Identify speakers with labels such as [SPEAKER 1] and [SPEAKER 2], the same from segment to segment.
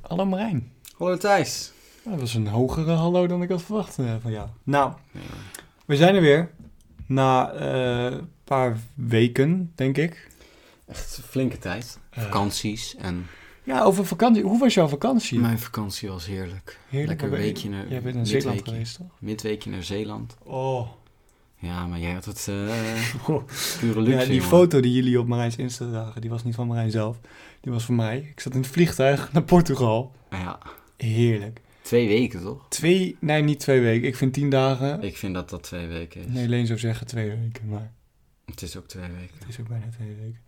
[SPEAKER 1] Hallo Marijn.
[SPEAKER 2] Hallo Thijs.
[SPEAKER 1] Dat was een hogere hallo dan ik had verwacht eh, van jou. Nou,
[SPEAKER 2] Ja.
[SPEAKER 1] we zijn er weer. Na eh, een paar weken, denk ik.
[SPEAKER 2] Echt een flinke tijd.
[SPEAKER 1] Eh,
[SPEAKER 2] Vakanties en
[SPEAKER 1] ja, over vakantie. Hoe was jouw vakantie?
[SPEAKER 2] mijn vakantie was heerlijk.
[SPEAKER 1] Heerlijk,
[SPEAKER 2] Lekker
[SPEAKER 1] maar ben-
[SPEAKER 2] weekje naar
[SPEAKER 1] Jij bent in
[SPEAKER 2] midweekje-
[SPEAKER 1] Zeeland geweest, toch?
[SPEAKER 2] Midweekje naar Zeeland.
[SPEAKER 1] Oh.
[SPEAKER 2] Ja, maar jij had het eh pure
[SPEAKER 1] ja,
[SPEAKER 2] luxe.
[SPEAKER 1] die
[SPEAKER 2] jongen.
[SPEAKER 1] foto die jullie op Marijn's Insta zagen, die was niet van Marijn zelf. Die was van mij. Ik zat in het vliegtuig naar Portugal.
[SPEAKER 2] Ja,
[SPEAKER 1] Heerlijk.
[SPEAKER 2] twee weken toch?
[SPEAKER 1] Twee, nee, niet twee weken. Ik vind tien dagen.
[SPEAKER 2] Ik vind dat dat twee weken is.
[SPEAKER 1] Nee, Leen zou zeggen twee weken, maar...
[SPEAKER 2] Het is ook twee weken.
[SPEAKER 1] Het is ook bijna twee weken.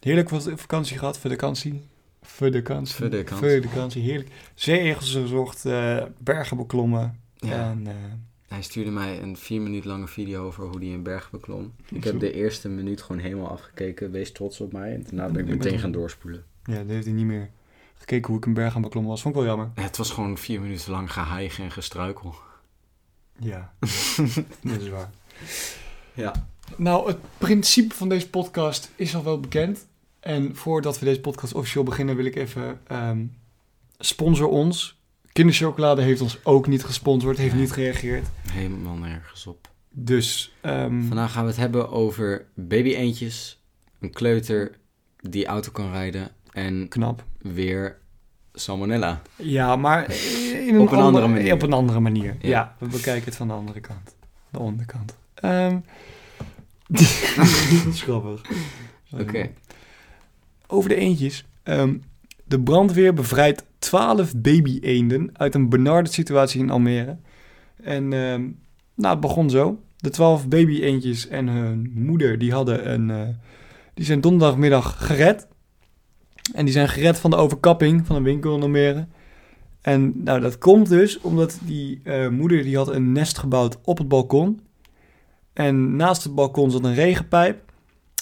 [SPEAKER 1] Heerlijk wat vakantie gehad, voor de vakantie. Voor de vakantie.
[SPEAKER 2] Voor de vakantie.
[SPEAKER 1] Voor de vakantie, heerlijk. Zeeegels gezocht, eh, bergen beklommen.
[SPEAKER 2] Ja.
[SPEAKER 1] En, eh,
[SPEAKER 2] Hij stuurde mij een vier minuut lange video over hoe hij een berg beklom. Ik heb
[SPEAKER 1] Zo.
[SPEAKER 2] de eerste minuut gewoon helemaal afgekeken. Wees trots op mij. En daarna ben ik
[SPEAKER 1] Ik ben
[SPEAKER 2] meteen
[SPEAKER 1] er-
[SPEAKER 2] gaan doorspoelen.
[SPEAKER 1] ja, dat heeft hij niet meer gekeken hoe ik een berg aan beklommen was. Vond ik wel jammer.
[SPEAKER 2] Het was gewoon vier minuten lang gehijgen en gestruikel.
[SPEAKER 1] Ja, dat is waar.
[SPEAKER 2] Ja.
[SPEAKER 1] Nou, het principe van deze podcast is al wel bekend. En voordat we deze podcast officieel beginnen, wil ik even... ehm, sponsor ons. Kinderchocolade heeft ons ook niet gesponsord, heeft niet gereageerd.
[SPEAKER 2] Helemaal nergens op.
[SPEAKER 1] Dus... ehm,
[SPEAKER 2] Vandaag gaan we het hebben over baby eendjes, een kleuter die auto kan rijden en
[SPEAKER 1] knap.
[SPEAKER 2] weer salmonella.
[SPEAKER 1] Ja, maar in een
[SPEAKER 2] Op een andere manier.
[SPEAKER 1] Op een andere manier.
[SPEAKER 2] Ja.
[SPEAKER 1] Ja. we bekijken het van de andere kant. De onderkant. Ehm dat is grappig.
[SPEAKER 2] Oké.
[SPEAKER 1] Over de eendjes. Ehm, de brandweer bevrijdt 12 baby-eenden uit een benarde situatie in Almere. En ehm, nou, het begon zo. De 12 baby-eendjes en hun moeder, die hadden een... eh, die zijn donderdagmiddag gered. En die zijn gered van de overkapping van een winkel in Almere. En nou, dat komt dus omdat die eh, moeder die had een nest gebouwd op het balkon. En naast het balkon zat een regenpijp.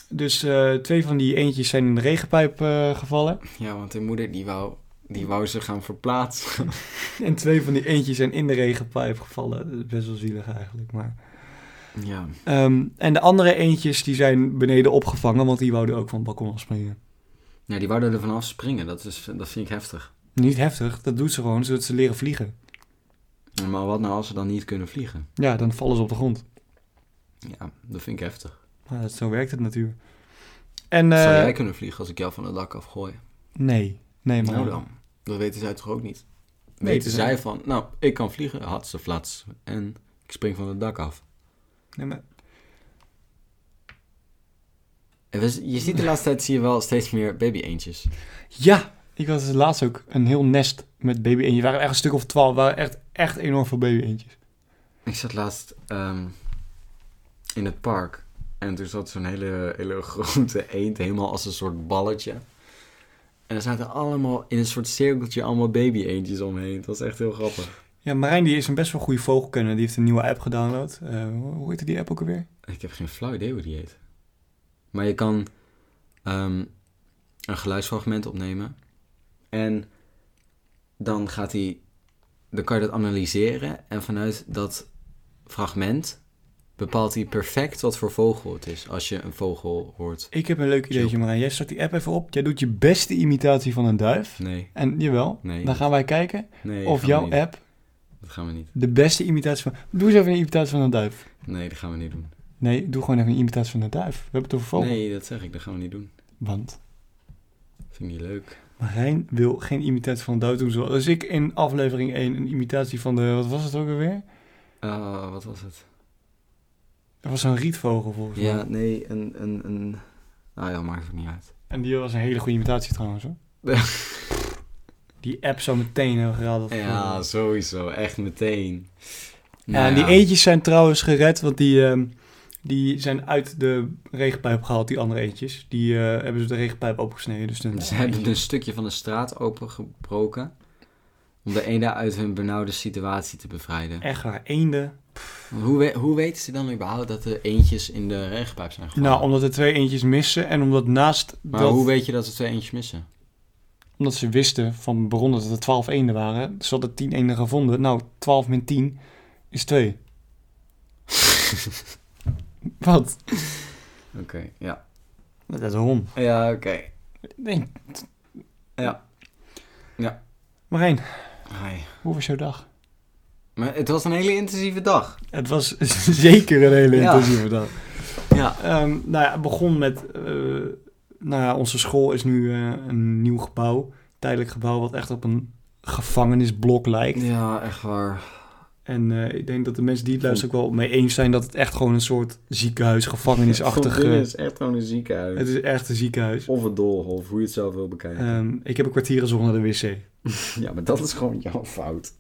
[SPEAKER 1] Dus eh, twee van die eentjes zijn in de regenpijp eh, gevallen.
[SPEAKER 2] Ja, want de moeder die wou, die wou ze gaan verplaatsen.
[SPEAKER 1] En twee van die eentjes zijn in de regenpijp gevallen. Dat is best wel zielig eigenlijk. Maar...
[SPEAKER 2] ja.
[SPEAKER 1] Ehm, en de andere eentjes die zijn beneden opgevangen, want die wouden ook van het balkon afspringen.
[SPEAKER 2] ja, die wouden er vanaf springen. Dat, is, dat vind ik heftig.
[SPEAKER 1] Niet heftig, dat doet ze gewoon zodat ze leren vliegen.
[SPEAKER 2] Maar wat nou als ze dan niet kunnen vliegen?
[SPEAKER 1] Ja, dan vallen ze op de grond.
[SPEAKER 2] Ja, dat vind ik heftig.
[SPEAKER 1] Maar dat, zo werkt het natuurlijk. En,
[SPEAKER 2] Zou
[SPEAKER 1] eh,
[SPEAKER 2] jij kunnen vliegen als ik jou van het dak afgooi?
[SPEAKER 1] Nee, nee, maar.
[SPEAKER 2] Nou dan. Dat weten zij toch ook niet?
[SPEAKER 1] Nee,
[SPEAKER 2] Weten
[SPEAKER 1] ze-
[SPEAKER 2] zij van, nou, ik kan vliegen, had ze flats. En ik spring van het dak af.
[SPEAKER 1] Nee, maar-
[SPEAKER 2] En we- Je ziet de laatste tijd zie je wel steeds meer baby eendjes.
[SPEAKER 1] Ja, ik had het laatst ook een heel nest met baby eendjes. waren echt een stuk of twaalf, waren echt, echt enorm veel baby eendjes.
[SPEAKER 2] Ik zat laatst ehm, in het park. En toen zat zo'n hele, hele grote eend helemaal als een soort balletje. En er zaten allemaal in een soort cirkeltje allemaal baby eendjes omheen. Het was echt heel grappig.
[SPEAKER 1] Ja, Marijn die is een best wel goede vogelkenner. Die heeft een nieuwe app gedownload. Eh, hoe heette die app ook alweer?
[SPEAKER 2] Ik heb geen flauw idee hoe die heet. Maar je kan ehm, een geluidsfragment opnemen. En dan gaat hij... Dan kan je dat analyseren. En vanuit dat fragment bepaalt hij perfect wat voor vogel het is. Als je een vogel hoort.
[SPEAKER 1] Ik heb een leuk ideetje, Marijn. Jij start die app even op. Jij doet je beste imitatie van een duif.
[SPEAKER 2] Nee,
[SPEAKER 1] En jawel,
[SPEAKER 2] Nee.
[SPEAKER 1] dan gaan wij kijken
[SPEAKER 2] nee. dat
[SPEAKER 1] of
[SPEAKER 2] gaan we
[SPEAKER 1] jouw
[SPEAKER 2] niet.
[SPEAKER 1] app
[SPEAKER 2] Dat gaan we niet.
[SPEAKER 1] de beste imitatie van... Doe eens even een imitatie van een duif.
[SPEAKER 2] Nee, dat gaan we niet doen.
[SPEAKER 1] Nee, doe gewoon even een imitatie van een duif. We hebben het over vogel.
[SPEAKER 2] Nee, dat zeg ik. Dat gaan we niet doen.
[SPEAKER 1] Want
[SPEAKER 2] Vind ik niet leuk.
[SPEAKER 1] Marijn wil geen imitatie van een duif doen. Zoals ik in aflevering 1 een imitatie van de... Wat was het ook alweer?
[SPEAKER 2] Ah, wat was het?
[SPEAKER 1] Dat was zo'n rietvogel volgens mij.
[SPEAKER 2] Ja, nee, een, een, een... Ah ja, maakt het niet uit.
[SPEAKER 1] En die was een hele goede imitatie trouwens hoor.
[SPEAKER 2] Ja.
[SPEAKER 1] Die app zou meteen hebben geraden. wat voor-
[SPEAKER 2] Ja, sowieso. Echt meteen. Nou
[SPEAKER 1] Ja, en die eentjes zijn trouwens gered, want die, ehm, die zijn uit de regenpijp gehaald, die andere eentjes. Die eh, hebben ze de regenpijp opgesneden. Dus de,
[SPEAKER 2] Ze hebben een stukje van de straat opengebroken... om de eenden uit hun benauwde situatie te bevrijden.
[SPEAKER 1] Echt waar, eenden.
[SPEAKER 2] Want Hoe, we- hoe weten ze dan überhaupt dat de eendjes in de regenpijp zijn gevallen?
[SPEAKER 1] Nou, omdat er twee eentjes missen en omdat naast
[SPEAKER 2] maar
[SPEAKER 1] dat...
[SPEAKER 2] hoe weet je dat ze twee eendjes missen?
[SPEAKER 1] Omdat ze wisten van bronnen dat er 12 eenden waren. Ze hadden 10 eenden gevonden. Nou, 12 min 10 is 2. Wat?
[SPEAKER 2] Oké, ja.
[SPEAKER 1] Dat is een hond.
[SPEAKER 2] Ja, oké.
[SPEAKER 1] Nee.
[SPEAKER 2] Ja. Ja.
[SPEAKER 1] Marijn,
[SPEAKER 2] Hai.
[SPEAKER 1] hoe was jouw dag?
[SPEAKER 2] Maar het was een hele intensieve dag.
[SPEAKER 1] Het was zeker een hele
[SPEAKER 2] Ja.
[SPEAKER 1] intensieve dag.
[SPEAKER 2] Ja.
[SPEAKER 1] Ehm, nou ja, het begon met... eh, nou ja, onze school is nu eh, een nieuw gebouw. Tijdelijk gebouw wat echt op een gevangenisblok lijkt.
[SPEAKER 2] Ja, echt waar.
[SPEAKER 1] En eh, ik denk dat de mensen die het luisteren ook wel mee eens zijn... dat het echt gewoon een soort ziekenhuis, gevangenisachtige...
[SPEAKER 2] Het is echt gewoon een ziekenhuis.
[SPEAKER 1] Het is echt een ziekenhuis.
[SPEAKER 2] Of een doolhof, hoe je het zelf wil bekijken.
[SPEAKER 1] Ehm, ik heb een kwartier zonder de wc.
[SPEAKER 2] Ja, maar dat is gewoon jouw fout.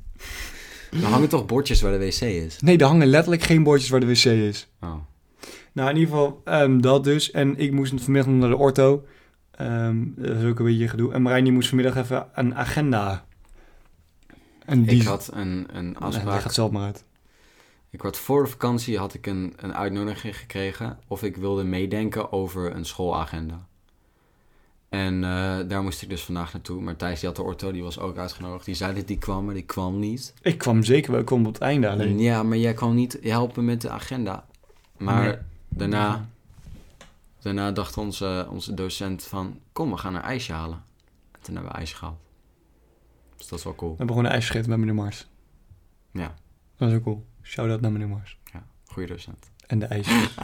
[SPEAKER 2] Er hangen toch bordjes waar de wc is?
[SPEAKER 1] Nee, er hangen letterlijk geen bordjes waar de wc is.
[SPEAKER 2] Oh.
[SPEAKER 1] Nou, in ieder geval ehm, dat dus. En ik moest vanmiddag nog naar de orto. Ehm, dat is ook een beetje gedoe. En Marijn die moest vanmiddag even een agenda. En die...
[SPEAKER 2] Ik had een,
[SPEAKER 1] Nee,
[SPEAKER 2] een
[SPEAKER 1] die
[SPEAKER 2] afspraak.
[SPEAKER 1] gaat zelf maar uit.
[SPEAKER 2] Ik had voor de vakantie had ik een, een uitnodiging gekregen of ik wilde meedenken over een schoolagenda. En eh, daar moest ik dus vandaag naartoe. Maar Thijs die had de orto, die was ook uitgenodigd. Die zei dat die kwam, maar die kwam niet.
[SPEAKER 1] Ik kwam zeker wel, ik kwam op het einde alleen.
[SPEAKER 2] Ja, maar jij kwam niet helpen met de agenda. Maar
[SPEAKER 1] Nee.
[SPEAKER 2] daarna, daarna dacht onze, onze docent van, kom we gaan een ijsje halen. En toen hebben we ijsje gehaald. Dus dat is wel cool.
[SPEAKER 1] We hebben gewoon een ijsje gegeten bij meneer Mars.
[SPEAKER 2] Ja.
[SPEAKER 1] Dat is ook cool. Shout-out naar meneer Mars.
[SPEAKER 2] Ja, goede docent.
[SPEAKER 1] En de ijsjes.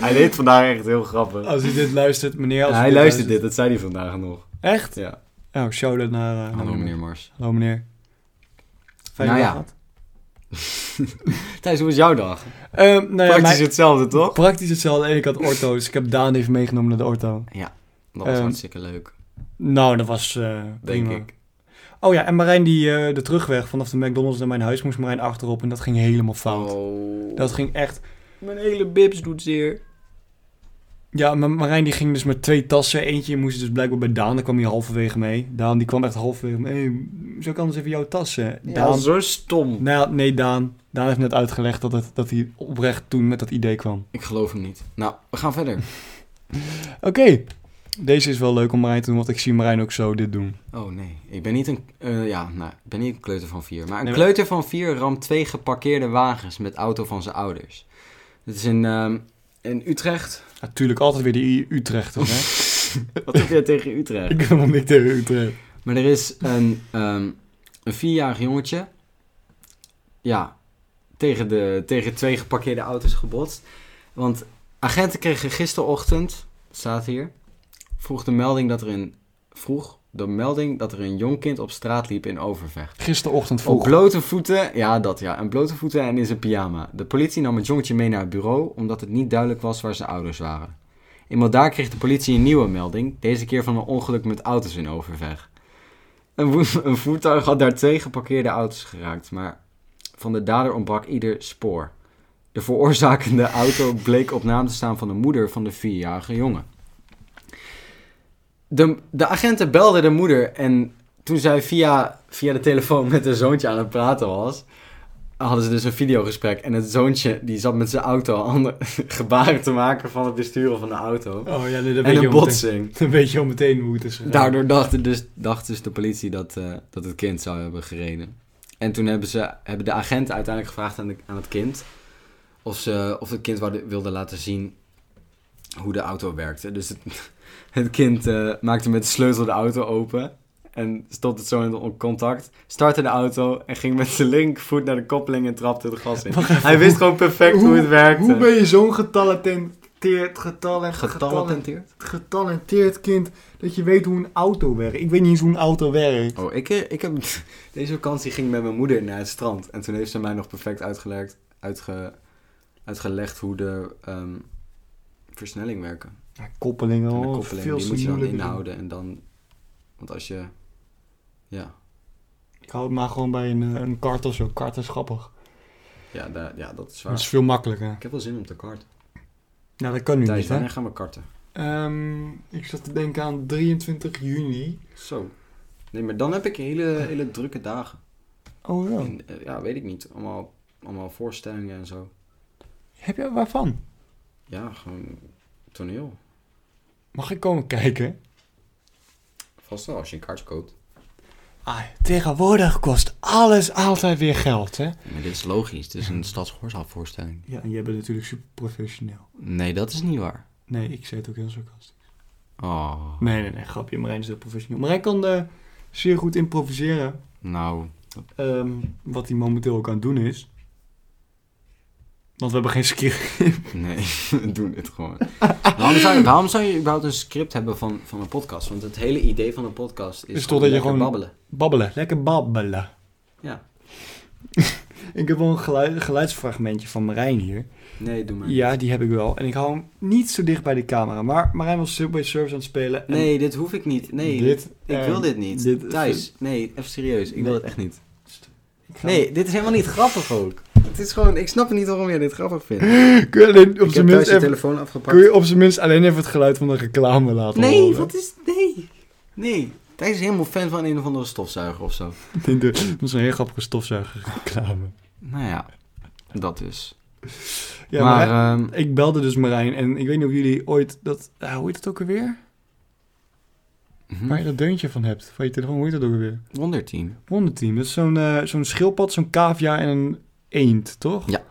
[SPEAKER 2] hij deed vandaag echt heel grappig.
[SPEAKER 1] als u dit luistert, meneer... Als u
[SPEAKER 2] hij luistert dit, dat zei hij vandaag nog.
[SPEAKER 1] Echt?
[SPEAKER 2] Ja.
[SPEAKER 1] Nou, shout-out naar, eh, naar
[SPEAKER 2] Hallo meneer Mars.
[SPEAKER 1] Mars. Hallo meneer. Fijne
[SPEAKER 2] Nou
[SPEAKER 1] dag
[SPEAKER 2] ja.
[SPEAKER 1] gehad.
[SPEAKER 2] Thijs, hoe was jouw dag?
[SPEAKER 1] Ehm, nou ja,
[SPEAKER 2] Praktisch
[SPEAKER 1] mijn-
[SPEAKER 2] hetzelfde, toch?
[SPEAKER 1] Praktisch hetzelfde. En ik had orto, dus ik heb Daan even meegenomen naar de orto.
[SPEAKER 2] Dat was
[SPEAKER 1] Ehm,
[SPEAKER 2] hartstikke leuk,
[SPEAKER 1] Nou, dat was eh
[SPEAKER 2] denk
[SPEAKER 1] prima.
[SPEAKER 2] ik.
[SPEAKER 1] Oh ja, en Marijn die eh, de terugweg vanaf de McDonald's naar mijn huis moest Marijn achterop en dat ging helemaal fout.
[SPEAKER 2] Oh.
[SPEAKER 1] Dat ging echt...
[SPEAKER 2] Mijn hele bibs doet zeer.
[SPEAKER 1] Ja, maar Marijn die ging dus met twee tassen. Eentje moest dus blijkbaar bij Daan, daar kwam hij halverwege mee. Daan die kwam echt halverwege mee. Hey, zou ik anders even jouw tassen?
[SPEAKER 2] Ja,
[SPEAKER 1] Daan...
[SPEAKER 2] zo stom.
[SPEAKER 1] Nou, nee, Daan. Daan heeft net uitgelegd dat, het, dat hij oprecht toen met dat idee kwam.
[SPEAKER 2] Ik geloof hem niet. Nou, we gaan verder.
[SPEAKER 1] Oké, deze is wel leuk om Marijn te doen, want ik zie Marijn ook zo dit doen.
[SPEAKER 2] Oh nee, ik ben niet een, eh, ja, nou, ik ben niet een kleuter van vier. Maar een
[SPEAKER 1] Nee, maar-
[SPEAKER 2] kleuter van vier ramt twee geparkeerde wagens met auto van zijn ouders. Dit is in, ehm, in Utrecht.
[SPEAKER 1] Natuurlijk altijd weer die Utrechter, hè?
[SPEAKER 2] Wat heb jij tegen Utrecht?
[SPEAKER 1] Ik wil niet tegen Utrecht.
[SPEAKER 2] Maar er is een, ehm, een vierjarig jongetje. Ja, tegen, de, tegen twee geparkeerde auto's gebotst. Want agenten kregen gisterochtend, staat hier, vroeg de melding dat er een, vroeg de melding dat er een jong kind op straat liep in Overvecht.
[SPEAKER 1] Gisterochtend
[SPEAKER 2] Op
[SPEAKER 1] vroeg.
[SPEAKER 2] blote voeten, ja dat ja, en blote voeten en in zijn pyjama. De politie nam het jongetje mee naar het bureau omdat het niet duidelijk was waar zijn ouders waren. Eenmaal daar kreeg de politie een nieuwe melding, deze keer van een ongeluk met auto's in Overweg. Een, wo- een voertuig had daar twee geparkeerde auto's geraakt, maar van de dader ontbrak ieder spoor. De veroorzakende auto bleek op naam te staan van de moeder van de vierjarige jongen. De, de agenten belden de moeder en toen zij via, via de telefoon met haar zoontje aan het praten was, hadden ze dus een videogesprek. En het zoontje die zat met zijn auto handen- gebaren te maken van het besturen van de auto.
[SPEAKER 1] Oh ja, nee, dat weet je
[SPEAKER 2] En een
[SPEAKER 1] al meteen-
[SPEAKER 2] botsing.
[SPEAKER 1] Dan weet je al meteen hoe het is gegaan.
[SPEAKER 2] Daardoor dacht dus, dacht dus de politie dat, eh, dat het kind zou hebben gereden. En toen hebben, ze, hebben de agenten uiteindelijk gevraagd aan, de, aan het kind of, ze, of het kind wou- wilde laten zien hoe de auto werkte. Dus het, het kind eh, maakte met de sleutel de auto open en stond het zo in contact. Startte de auto en ging met zijn linkvoet naar de koppeling en trapte de gas in. Hij wist gewoon perfect hoe, het werkte.
[SPEAKER 1] Hoe ben je zo'n getalenteerd, getalent, getalent,
[SPEAKER 2] Getalenteerd?
[SPEAKER 1] getalenteerd kind dat je weet hoe een auto werkt? Ik weet niet eens hoe een auto werkt.
[SPEAKER 2] Oh, ik, eh, ik heb... Deze vakantie ging ik met mijn moeder naar het strand. En toen heeft ze mij nog perfect uitgelegd, uitge, uitgelegd hoe de ehm, versnelling werken.
[SPEAKER 1] Ja, koppelingen,
[SPEAKER 2] en de
[SPEAKER 1] oh,
[SPEAKER 2] koppeling,
[SPEAKER 1] veel
[SPEAKER 2] die
[SPEAKER 1] te
[SPEAKER 2] moet je dan
[SPEAKER 1] moeilijk.
[SPEAKER 2] inhouden. En dan... Want als je... Ja,
[SPEAKER 1] Ik hou het maar gewoon bij een, eh, een kart of zo. Kart is grappig.
[SPEAKER 2] ja, daar, ja dat is
[SPEAKER 1] Dat is
[SPEAKER 2] waar.
[SPEAKER 1] veel makkelijker.
[SPEAKER 2] Ik heb wel zin om te karten.
[SPEAKER 1] Nou, dat kan nu
[SPEAKER 2] Thijs,
[SPEAKER 1] niet, hè?
[SPEAKER 2] wanneer gaan we karten?
[SPEAKER 1] Ehm, ik zat te denken aan 23 juni.
[SPEAKER 2] Zo. Nee, maar dan heb ik hele, hele drukke dagen.
[SPEAKER 1] Oh ja.
[SPEAKER 2] En, eh, ja, weet ik niet. Allemaal, allemaal voorstellingen en zo.
[SPEAKER 1] Heb je waarvan?
[SPEAKER 2] Ja, gewoon toneel.
[SPEAKER 1] Mag ik komen kijken?
[SPEAKER 2] Vast wel, als je een kaart koopt.
[SPEAKER 1] Ah, tegenwoordig kost alles altijd weer geld, hè?
[SPEAKER 2] Maar dit is logisch. Het is een stadsgehoorzaalvoorstelling.
[SPEAKER 1] Ja, en jij bent natuurlijk super professioneel.
[SPEAKER 2] Nee, dat is niet waar.
[SPEAKER 1] Nee, ik zei het ook heel sarcastisch.
[SPEAKER 2] Oh.
[SPEAKER 1] Nee, nee, nee, grapje. Marijn is heel professioneel. Marijn kan de zeer goed improviseren.
[SPEAKER 2] Nou,
[SPEAKER 1] ehm, wat hij momenteel ook aan het doen is. Want we hebben geen script.
[SPEAKER 2] nee, we doen dit gewoon. waarom, zou je, waarom zou je überhaupt een script hebben van, van een podcast? Want het hele idee van een podcast is,
[SPEAKER 1] Is toch dat je
[SPEAKER 2] lekker
[SPEAKER 1] gewoon-
[SPEAKER 2] babbelen.
[SPEAKER 1] Babbelen, lekker babbelen.
[SPEAKER 2] Ja.
[SPEAKER 1] Ik heb wel een geluid, geluidsfragmentje van Marijn hier.
[SPEAKER 2] Nee, doe maar.
[SPEAKER 1] Ja, die heb ik wel. En ik hou hem niet zo dicht bij de camera. Maar Marijn was Subway Surfers aan het spelen. En
[SPEAKER 2] Nee, dit hoef ik niet. Nee,
[SPEAKER 1] Dit,
[SPEAKER 2] ik
[SPEAKER 1] eh,
[SPEAKER 2] wil dit niet.
[SPEAKER 1] dit-
[SPEAKER 2] Thijs, nee, even serieus. Ik
[SPEAKER 1] Nee.
[SPEAKER 2] wil het echt niet.
[SPEAKER 1] ik ga-
[SPEAKER 2] Nee, dit is helemaal niet grappig ook. Het is gewoon, ik snap niet waarom jij dit grappig vindt. Ik
[SPEAKER 1] Kun je, alleen op
[SPEAKER 2] heb
[SPEAKER 1] zijn
[SPEAKER 2] thuis
[SPEAKER 1] minst
[SPEAKER 2] je
[SPEAKER 1] even,
[SPEAKER 2] telefoon
[SPEAKER 1] kun
[SPEAKER 2] afgepakt.
[SPEAKER 1] je op zijn minst alleen even het geluid van de reclame laten
[SPEAKER 2] Nee,
[SPEAKER 1] horen?
[SPEAKER 2] wat is... Nee. Nee. Thijs is helemaal fan van een of andere stofzuiger of zo.
[SPEAKER 1] Ik denk, Dat is een heel grappige stofzuigerreclame.
[SPEAKER 2] Nou ja, dat dus.
[SPEAKER 1] Ja,
[SPEAKER 2] maar,
[SPEAKER 1] maar,
[SPEAKER 2] ehm,
[SPEAKER 1] ik belde dus Marijn. En ik weet niet of jullie ooit dat... ah, hoe heet het ook alweer?
[SPEAKER 2] mhm.
[SPEAKER 1] Waar je dat deuntje van hebt. Van je telefoon, hoe heet dat ook alweer?
[SPEAKER 2] Wonderteam.
[SPEAKER 1] Wonderteam. Dat is zo'n eh, zo'n schildpad, zo'n cavia en een eend, toch?
[SPEAKER 2] Ja.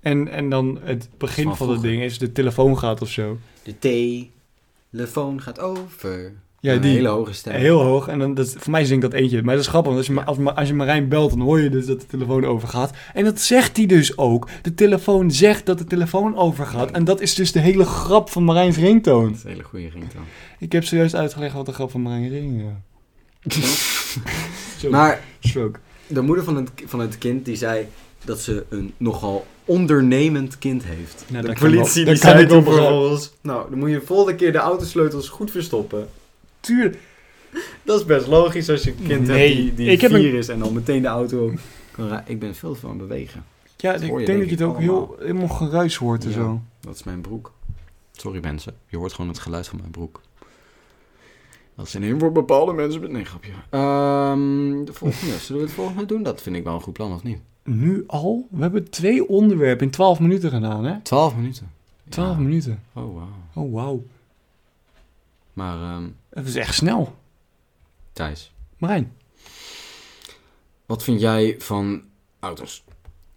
[SPEAKER 1] En, en dan het begin
[SPEAKER 2] van
[SPEAKER 1] van, dat
[SPEAKER 2] vroeger.
[SPEAKER 1] ding is de telefoon gaat of zo.
[SPEAKER 2] De telefoon gaat over.
[SPEAKER 1] Ja,
[SPEAKER 2] Een
[SPEAKER 1] die.
[SPEAKER 2] hele hoge stem.
[SPEAKER 1] Heel hoog. En dan, dat, voor mij zingt dat eentje. Maar dat is grappig, want als je, Ma- als, Ma- als je Marijn belt, dan hoor je dus dat de telefoon overgaat. En dat zegt hij dus ook. De telefoon zegt dat de telefoon overgaat. En dat is dus de hele grap van Marijn's
[SPEAKER 2] Dat
[SPEAKER 1] ringtoon.
[SPEAKER 2] is een hele goede ringtoon.
[SPEAKER 1] Ik heb zojuist uitgelegd wat de grap van Marijn ring ja. Zo,
[SPEAKER 2] Maar
[SPEAKER 1] stroke.
[SPEAKER 2] de moeder van het, van het kind die zei dat ze een nogal ondernemend kind heeft.
[SPEAKER 1] Nou,
[SPEAKER 2] de
[SPEAKER 1] dat kan
[SPEAKER 2] politie
[SPEAKER 1] wel- dat
[SPEAKER 2] die
[SPEAKER 1] kan
[SPEAKER 2] zei
[SPEAKER 1] ik wel
[SPEAKER 2] toen
[SPEAKER 1] begrijpen.
[SPEAKER 2] vervolgens... Nou, dan moet je de volgende keer de autosleutels goed verstoppen.
[SPEAKER 1] Tuurlijk.
[SPEAKER 2] Dat is best logisch als je een kind
[SPEAKER 1] Nee,
[SPEAKER 2] hebt die, die
[SPEAKER 1] ik heb
[SPEAKER 2] vier
[SPEAKER 1] een-
[SPEAKER 2] is en dan meteen de auto kan ra- Ik ben veel van bewegen.
[SPEAKER 1] Ja,
[SPEAKER 2] Dat
[SPEAKER 1] ik
[SPEAKER 2] hoor je,
[SPEAKER 1] denk,
[SPEAKER 2] denk
[SPEAKER 1] dat je het
[SPEAKER 2] ik,
[SPEAKER 1] ook heel,
[SPEAKER 2] allemaal.
[SPEAKER 1] helemaal geruis hoort en
[SPEAKER 2] Ja.
[SPEAKER 1] zo.
[SPEAKER 2] Dat is mijn broek. Sorry mensen, je hoort gewoon het geluid van mijn broek. Dat is een heel voor bepaalde mensen. met- Nee, grapje. Ehm, de volgende. Zullen we het volgende doen? Dat vind ik wel een goed plan, of niet?
[SPEAKER 1] Nu al? We hebben twee onderwerpen in 12 minuten gedaan, hè?
[SPEAKER 2] Twaalf minuten.
[SPEAKER 1] 12
[SPEAKER 2] Ja.
[SPEAKER 1] minuten.
[SPEAKER 2] Oh, wauw.
[SPEAKER 1] Oh, wauw.
[SPEAKER 2] Maar, ehm,
[SPEAKER 1] Dat is echt snel.
[SPEAKER 2] Thijs,
[SPEAKER 1] Marijn.
[SPEAKER 2] wat vind jij van auto's?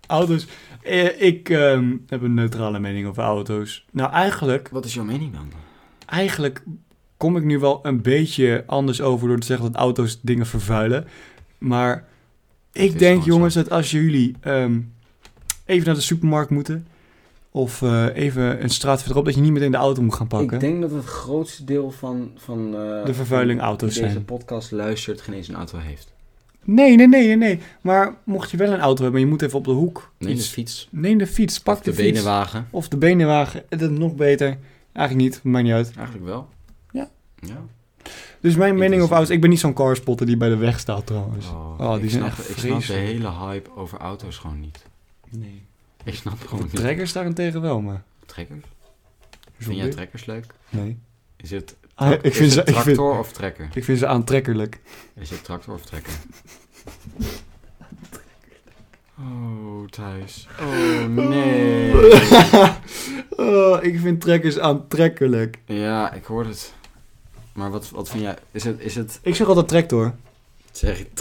[SPEAKER 1] Auto's. Eh, ik ehm, heb een neutrale mening over auto's. Nou, eigenlijk,
[SPEAKER 2] Wat is jouw mening dan?
[SPEAKER 1] eigenlijk kom ik nu wel een beetje anders over door te zeggen dat auto's dingen vervuilen. Maar
[SPEAKER 2] is
[SPEAKER 1] ik denk,
[SPEAKER 2] gewoon zo.
[SPEAKER 1] jongens, dat als jullie ehm, even naar de supermarkt moeten. Of eh, even een straat verderop, dat je niet meteen de auto moet gaan pakken.
[SPEAKER 2] Ik denk dat het grootste deel van... van eh,
[SPEAKER 1] De vervuiling auto's
[SPEAKER 2] die deze
[SPEAKER 1] zijn. podcast
[SPEAKER 2] podcast luistert geen eens een auto heeft.
[SPEAKER 1] Nee, nee, nee, nee, nee. Maar mocht je wel een auto hebben, en je moet even op de hoek.
[SPEAKER 2] Nee, de
[SPEAKER 1] iets-
[SPEAKER 2] fiets.
[SPEAKER 1] Neem de fiets, pak
[SPEAKER 2] Of
[SPEAKER 1] de,
[SPEAKER 2] de
[SPEAKER 1] fiets.
[SPEAKER 2] benenwagen.
[SPEAKER 1] Of de benenwagen. Dat is nog beter. Eigenlijk niet, maakt niet uit.
[SPEAKER 2] Eigenlijk wel.
[SPEAKER 1] Ja.
[SPEAKER 2] Ja.
[SPEAKER 1] Dus mijn mening over
[SPEAKER 2] Interessant.
[SPEAKER 1] auto's... Ik ben niet zo'n carspotter die bij de weg staat trouwens.
[SPEAKER 2] Oh,
[SPEAKER 1] Oh, die
[SPEAKER 2] ik,
[SPEAKER 1] zijn
[SPEAKER 2] snap,
[SPEAKER 1] echt
[SPEAKER 2] ik snap de
[SPEAKER 1] vreselijk.
[SPEAKER 2] hele hype over auto's gewoon niet.
[SPEAKER 1] Nee.
[SPEAKER 2] Ik snap gewoon
[SPEAKER 1] De
[SPEAKER 2] niet.
[SPEAKER 1] trekkers daarentegen wel, maar...
[SPEAKER 2] Trekkers?
[SPEAKER 1] Zo
[SPEAKER 2] Vind jij
[SPEAKER 1] leuk.
[SPEAKER 2] trekkers leuk?
[SPEAKER 1] Nee.
[SPEAKER 2] Is het,
[SPEAKER 1] Ah, ik,
[SPEAKER 2] is
[SPEAKER 1] vind
[SPEAKER 2] het
[SPEAKER 1] ze, ik,
[SPEAKER 2] tractor
[SPEAKER 1] vind,
[SPEAKER 2] of trekker?
[SPEAKER 1] ik vind ze aantrekkelijk.
[SPEAKER 2] Is het tractor of trekker? Oh, Thijs. Oh, nee.
[SPEAKER 1] Oh, ik vind trekkers aantrekkelijk.
[SPEAKER 2] Ja, ik hoor het. Maar wat, wat vind jij? Is het, is het
[SPEAKER 1] Ik zeg altijd tractor.
[SPEAKER 2] zeg, ik,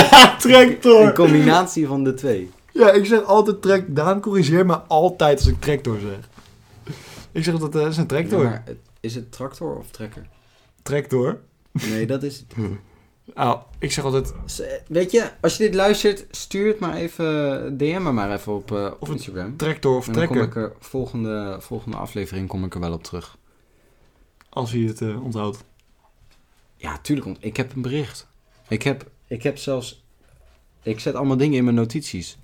[SPEAKER 1] tractor!
[SPEAKER 2] een combinatie van de twee?
[SPEAKER 1] Ja, ik zeg altijd tractor. Daan corrigeert me altijd als ik tractor zeg. Ik zeg dat dat is een tractor.
[SPEAKER 2] Ja, maar het- is het tractor of trekker?
[SPEAKER 1] Tractor?
[SPEAKER 2] Nee, dat is het.
[SPEAKER 1] Oh, ik zeg altijd...
[SPEAKER 2] Z- Weet je, als je dit luistert, stuur het maar even, DM me maar even op, eh, op
[SPEAKER 1] Of het
[SPEAKER 2] Instagram.
[SPEAKER 1] Tractor of
[SPEAKER 2] en dan kom
[SPEAKER 1] trekker.
[SPEAKER 2] ik er, volgende, volgende aflevering kom ik er wel op terug.
[SPEAKER 1] Als hij het eh, onthoudt.
[SPEAKER 2] Ja, tuurlijk, want ik heb een bericht. Ik heb, ik heb zelfs, ik zet allemaal dingen in mijn notities.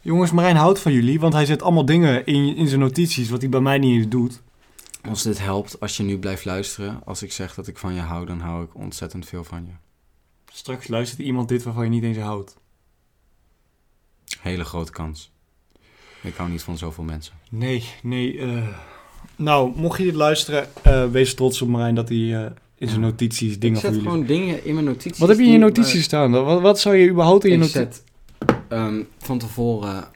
[SPEAKER 1] Jongens, Marijn houdt van jullie, want hij zet allemaal dingen in, in zijn notities wat hij bij mij niet eens doet.
[SPEAKER 2] Als dit helpt, als je nu blijft luisteren, als ik zeg dat ik van je hou, dan hou ik ontzettend veel van je.
[SPEAKER 1] Straks luistert iemand dit waarvan je niet eens houdt.
[SPEAKER 2] Hele grote kans. Ik hou niet van zoveel mensen.
[SPEAKER 1] Nee, nee. eh. Nou, mocht je dit luisteren, eh, wees trots op Marijn dat hij eh, in zijn notities dingen
[SPEAKER 2] ik
[SPEAKER 1] voor
[SPEAKER 2] zet
[SPEAKER 1] jullie...
[SPEAKER 2] gewoon dingen in mijn notities.
[SPEAKER 1] Wat heb je in je
[SPEAKER 2] die- eh,
[SPEAKER 1] notities staan? Wat, wat zou je überhaupt in je
[SPEAKER 2] Ik
[SPEAKER 1] notities...
[SPEAKER 2] zet ehm, van tevoren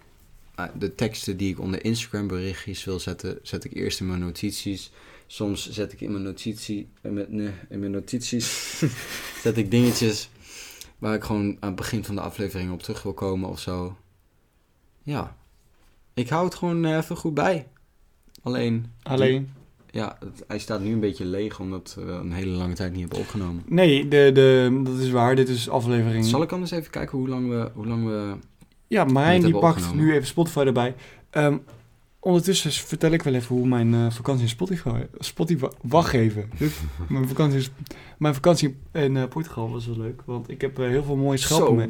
[SPEAKER 2] eh, de teksten die ik onder Instagram berichtjes wil zetten, zet ik eerst in mijn notities. Soms zet ik in mijn notitie, in mijn, nee, in mijn notities, zet ik dingetjes waar ik gewoon aan het begin van de aflevering op terug wil komen of zo. Ja, ik hou het gewoon eh, even goed bij. Alleen,
[SPEAKER 1] Alleen,
[SPEAKER 2] Ja, het- hij staat nu een beetje leeg omdat we een hele lange tijd niet hebben opgenomen.
[SPEAKER 1] Nee, de, de, dat is waar. Dit is aflevering...
[SPEAKER 2] Zal ik anders even kijken hoe lang we... Hoe lang we...
[SPEAKER 1] Ja, Marijn
[SPEAKER 2] Niet
[SPEAKER 1] die
[SPEAKER 2] hebben
[SPEAKER 1] pakt
[SPEAKER 2] opgenomen.
[SPEAKER 1] nu even Spotify erbij. Ehm, ondertussen s- vertel ik wel even hoe mijn eh, vakantie in Spotify... Spotify... Wacht even. Dit- mijn, vakantie in, Sp- mijn vakantie in eh, Portugal was wel leuk. Want ik heb eh, heel veel mooie schelpen mee.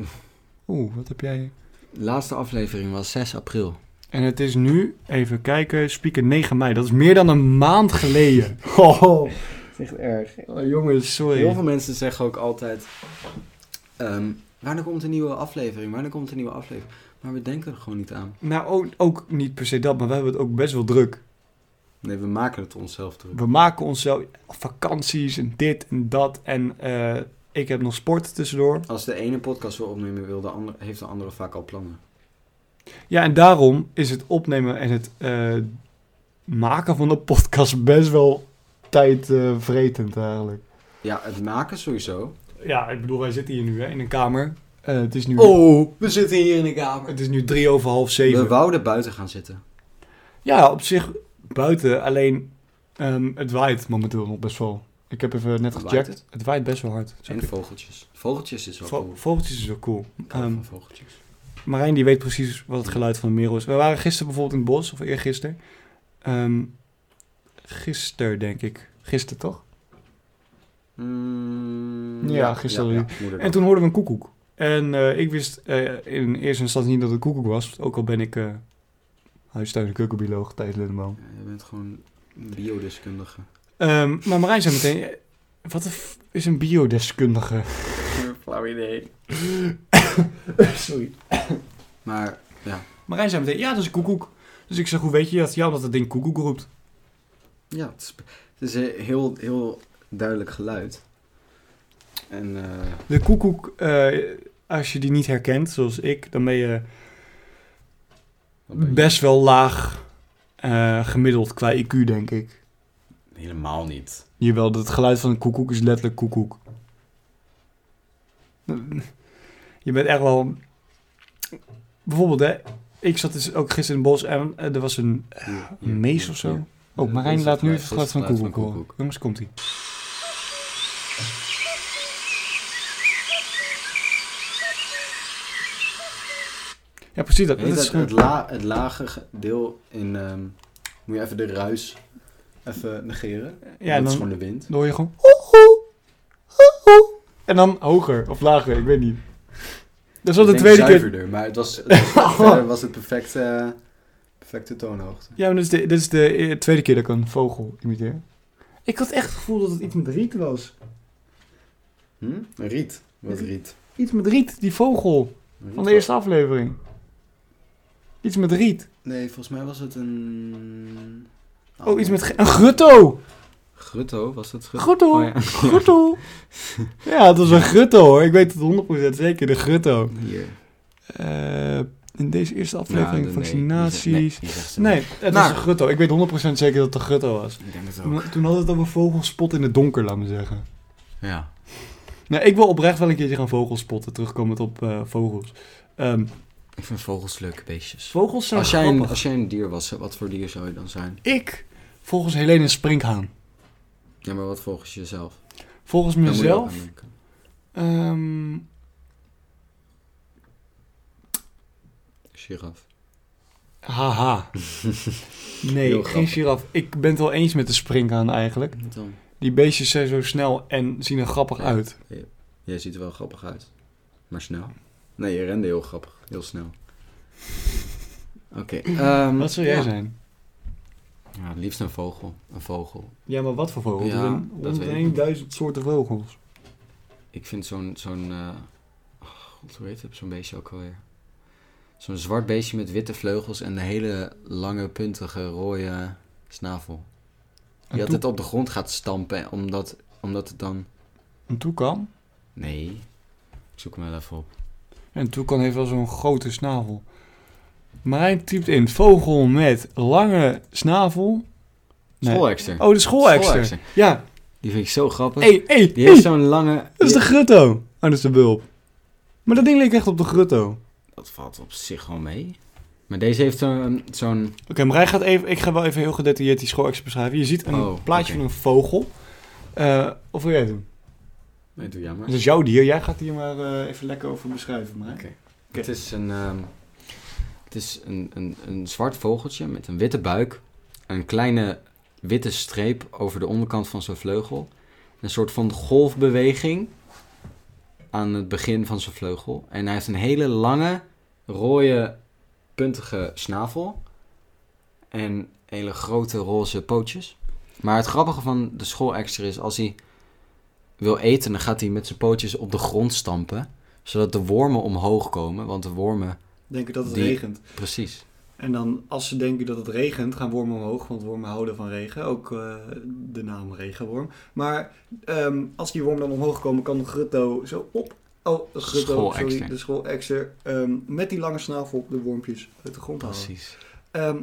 [SPEAKER 1] Oeh, wat heb jij...
[SPEAKER 2] Laatste aflevering was 6 april.
[SPEAKER 1] En het is nu, even kijken, speaker 9 mei. Dat is meer dan een maand geleden. Oh,
[SPEAKER 2] Dat is echt erg.
[SPEAKER 1] oh, jongens, sorry.
[SPEAKER 2] Heel veel mensen zeggen ook altijd... ehm wanneer komt een nieuwe aflevering? Wanneer komt een nieuwe aflevering? Maar we denken er gewoon niet aan.
[SPEAKER 1] Nou, ook, ook niet per se dat, maar we hebben het ook best wel druk.
[SPEAKER 2] Nee, we maken het onszelf druk.
[SPEAKER 1] We maken onszelf vakanties en dit en dat. En eh, ik heb nog sport tussendoor.
[SPEAKER 2] Als de ene podcast wil opnemen wil, de ander, heeft de andere vaak al plannen.
[SPEAKER 1] Ja, en daarom is het opnemen en het eh, maken van de podcast best wel tijdvretend eh, eigenlijk.
[SPEAKER 2] Ja, het maken sowieso.
[SPEAKER 1] Ja, ik bedoel, wij zitten hier nu hè, in een kamer. Eh, het, is nu,
[SPEAKER 2] Oh, we zitten hier in de kamer.
[SPEAKER 1] het is nu drie over half zeven.
[SPEAKER 2] We wouden buiten gaan zitten.
[SPEAKER 1] Ja, op zich buiten. Alleen ehm, het waait momenteel nog best wel. Ik heb even net
[SPEAKER 2] Waait
[SPEAKER 1] gecheckt.
[SPEAKER 2] het?
[SPEAKER 1] Het? waait best wel hard.
[SPEAKER 2] En vogeltjes. Vogeltjes is wel
[SPEAKER 1] Vo-
[SPEAKER 2] cool.
[SPEAKER 1] vogeltjes is wel cool.
[SPEAKER 2] Ik hou
[SPEAKER 1] Ehm,
[SPEAKER 2] van vogeltjes.
[SPEAKER 1] Marijn die weet precies wat het geluid van de merel is. We waren gisteren bijvoorbeeld in het bos, of eergisteren. Ehm gisteren denk ik. Gisteren toch?
[SPEAKER 2] Mm,
[SPEAKER 1] Ja, gisteren
[SPEAKER 2] moederdag.
[SPEAKER 1] En toen hoorden we een koekoek. En eh, ik wist eh, in eerste instantie niet dat het een koekoek was. Ook al ben ik eh huistuin- en keukenbioloog, Thijs Lindeman.
[SPEAKER 2] Ja, je bent gewoon een biodeskundige.
[SPEAKER 1] Ehm, maar Marijn zei meteen, eh, wat de f- is een biodeskundige?
[SPEAKER 2] Flauw idee.
[SPEAKER 1] Sorry.
[SPEAKER 2] Maar ja,
[SPEAKER 1] Marijn zei meteen, ja, dat is een koekoek. Dus ik zeg, hoe weet je dat? Ja, omdat het ding koekoek roept.
[SPEAKER 2] ja het, is, het is een heel, heel duidelijk geluid. En eh,
[SPEAKER 1] De koekoek, eh, als je die niet herkent, zoals ik, dan ben je
[SPEAKER 2] wat ben je?
[SPEAKER 1] best wel laag eh, gemiddeld qua IQ, denk ik.
[SPEAKER 2] helemaal niet.
[SPEAKER 1] Jawel, het geluid van een koekoek is letterlijk koekoek. Je bent echt wel... Bijvoorbeeld, hè. Ik zat dus ook gisteren in het bos en eh, er was een
[SPEAKER 2] Hier, hier,
[SPEAKER 1] een mees
[SPEAKER 2] hier,
[SPEAKER 1] of zo.
[SPEAKER 2] hier.
[SPEAKER 1] Oh,
[SPEAKER 2] Eh,
[SPEAKER 1] Marijn
[SPEAKER 2] dit is
[SPEAKER 1] laat nu
[SPEAKER 2] geluid-
[SPEAKER 1] even het geluid van een
[SPEAKER 2] dit is
[SPEAKER 1] koekoek horen. Jongens, komt-ie. Ja, precies dat.
[SPEAKER 2] Weet je
[SPEAKER 1] dat
[SPEAKER 2] dat
[SPEAKER 1] is gewoon-
[SPEAKER 2] het, la, het lage ge- deel in... ehm, moet je even de ruis even negeren?
[SPEAKER 1] ja,
[SPEAKER 2] dat
[SPEAKER 1] en
[SPEAKER 2] is
[SPEAKER 1] dan
[SPEAKER 2] gewoon de wind.
[SPEAKER 1] dan hoor je gewoon... "Hoe, hoe, hoe, hoe." En dan hoger of lager, ik weet niet. Dat is wel de
[SPEAKER 2] Ik denk
[SPEAKER 1] tweede keer...
[SPEAKER 2] zuiverder, maar het was, het was, verder was het perfecte, eh, perfecte toonhoogte.
[SPEAKER 1] Ja, maar dit is de, dit is de eh, tweede keer dat ik een vogel imiteer. Ik had echt het gevoel dat het iets met riet was.
[SPEAKER 2] Hm? Een riet. Wat riet?
[SPEAKER 1] Iets met riet, die vogel
[SPEAKER 2] Een
[SPEAKER 1] van
[SPEAKER 2] riet
[SPEAKER 1] de eerste aflevering. Iets met riet.
[SPEAKER 2] was- Nee, volgens mij was het een...
[SPEAKER 1] Oh, iets met ge- een grutto.
[SPEAKER 2] Grutto, was het grutto?
[SPEAKER 1] Grutto.
[SPEAKER 2] Oh, ja.
[SPEAKER 1] Grutto. Ja, het was een grutto hoor. Ik weet het 100% zeker, de grutto.
[SPEAKER 2] Hier. Nou,
[SPEAKER 1] Eh, in deze eerste
[SPEAKER 2] Ja,
[SPEAKER 1] aflevering
[SPEAKER 2] de- Nee,
[SPEAKER 1] vaccinaties.
[SPEAKER 2] die zegt- nee, die zegt ze
[SPEAKER 1] Nee,
[SPEAKER 2] niet.
[SPEAKER 1] het was
[SPEAKER 2] Nou.
[SPEAKER 1] een grutto. Ik weet 100% zeker dat het een grutto was.
[SPEAKER 2] Ik denk het ook.
[SPEAKER 1] Toen, toen hadden we het over vogelspot in het donker, laat me zeggen.
[SPEAKER 2] Ja.
[SPEAKER 1] Nou, ik wil oprecht wel een keertje gaan vogelspotten, terugkomend op eh, vogels. Ehm,
[SPEAKER 2] Ik vind vogels leuke beestjes.
[SPEAKER 1] vogels zijn
[SPEAKER 2] Als jij, een,
[SPEAKER 1] grappig.
[SPEAKER 2] als jij een dier was, wat voor dier zou je dan zijn?
[SPEAKER 1] Ik, volgens Helene een Sprinkhaan.
[SPEAKER 2] Ja, maar wat volgens jezelf?
[SPEAKER 1] Volgens
[SPEAKER 2] Daar moet je ook
[SPEAKER 1] mezelf...
[SPEAKER 2] aan denken.
[SPEAKER 1] ehm,
[SPEAKER 2] Giraf.
[SPEAKER 1] Haha. Nee,
[SPEAKER 2] Heel
[SPEAKER 1] geen
[SPEAKER 2] grappig.
[SPEAKER 1] giraf. Ik ben het wel eens met de springhaan eigenlijk.
[SPEAKER 2] Wat dan?
[SPEAKER 1] Die beestjes zijn zo snel en zien er grappig
[SPEAKER 2] Ja.
[SPEAKER 1] uit.
[SPEAKER 2] Jij ziet er wel grappig uit. Maar snel. Nee, je rende heel grappig. Heel snel. Oké. ehm,
[SPEAKER 1] Wat zou jij
[SPEAKER 2] ja.
[SPEAKER 1] zijn?
[SPEAKER 2] Ja, het liefst een vogel. Een vogel.
[SPEAKER 1] Ja, maar wat voor vogel?
[SPEAKER 2] Ja,
[SPEAKER 1] er
[SPEAKER 2] dat weet
[SPEAKER 1] zijn
[SPEAKER 2] ik
[SPEAKER 1] 101.000 soorten vogels.
[SPEAKER 2] Ik vind zo'n... zo'n eh, oh, God, hoe heet het? Zo'n beestje ook alweer. Zo'n zwart beestje met witte vleugels en een hele lange, puntige, rode snavel.
[SPEAKER 1] Een,
[SPEAKER 2] Die
[SPEAKER 1] toe-
[SPEAKER 2] altijd op de grond gaat stampen, hè, omdat, omdat het dan...
[SPEAKER 1] een toekan?
[SPEAKER 2] Nee. Ik zoek hem wel even op.
[SPEAKER 1] Ja, een toekan heeft wel zo'n grote snavel. Marijn typt in vogel met lange snavel. Nee.
[SPEAKER 2] Schoolhekster.
[SPEAKER 1] Oh, de schoolekster. Ja.
[SPEAKER 2] Die vind ik zo grappig.
[SPEAKER 1] Hé, hé,
[SPEAKER 2] Die heeft
[SPEAKER 1] hé.
[SPEAKER 2] zo'n lange...
[SPEAKER 1] Dat is de grutto. Oh, dat is de bulp. Maar dat ding leek echt op de grutto.
[SPEAKER 2] Dat valt op zich wel mee. Maar deze heeft zo'n... zo'n
[SPEAKER 1] Oké, maar hij gaat even, ik ga wel even heel gedetailleerd die schoolactie beschrijven. Je ziet een
[SPEAKER 2] Oh,
[SPEAKER 1] plaatje
[SPEAKER 2] oké.
[SPEAKER 1] van een vogel. Eh, of wil jij het doen?
[SPEAKER 2] nee, doe jammer.
[SPEAKER 1] Dat is jouw dier. Jij gaat hier maar eh, even lekker over beschrijven. Maar, hè?
[SPEAKER 2] Oké. Het is een, ehm, het is een, een, een zwart vogeltje met een witte buik. Een kleine witte streep over de onderkant van zijn vleugel. Een soort van golfbeweging aan het begin van zijn vleugel. En hij heeft een hele lange, rode, puntige snavel. En hele grote roze pootjes. Maar het grappige van de schoolexter is, als hij wil eten, dan gaat hij met zijn pootjes op de grond stampen. Zodat de wormen omhoog komen. Want de wormen, Oh.
[SPEAKER 1] Denken dat het
[SPEAKER 2] Die-
[SPEAKER 1] regent.
[SPEAKER 2] precies.
[SPEAKER 1] En dan, als ze denken dat het regent, gaan wormen omhoog, want wormen houden van regen. Ook eh, de naam regenworm. Maar ehm, als die wormen dan omhoog komen, kan Grutto zo op. Oh, Grutto, sorry,
[SPEAKER 2] Schoolekster.
[SPEAKER 1] de schoolexter. ehm, met die lange snavel op de wormpjes uit de grond halen.
[SPEAKER 2] Precies.
[SPEAKER 1] Ehm,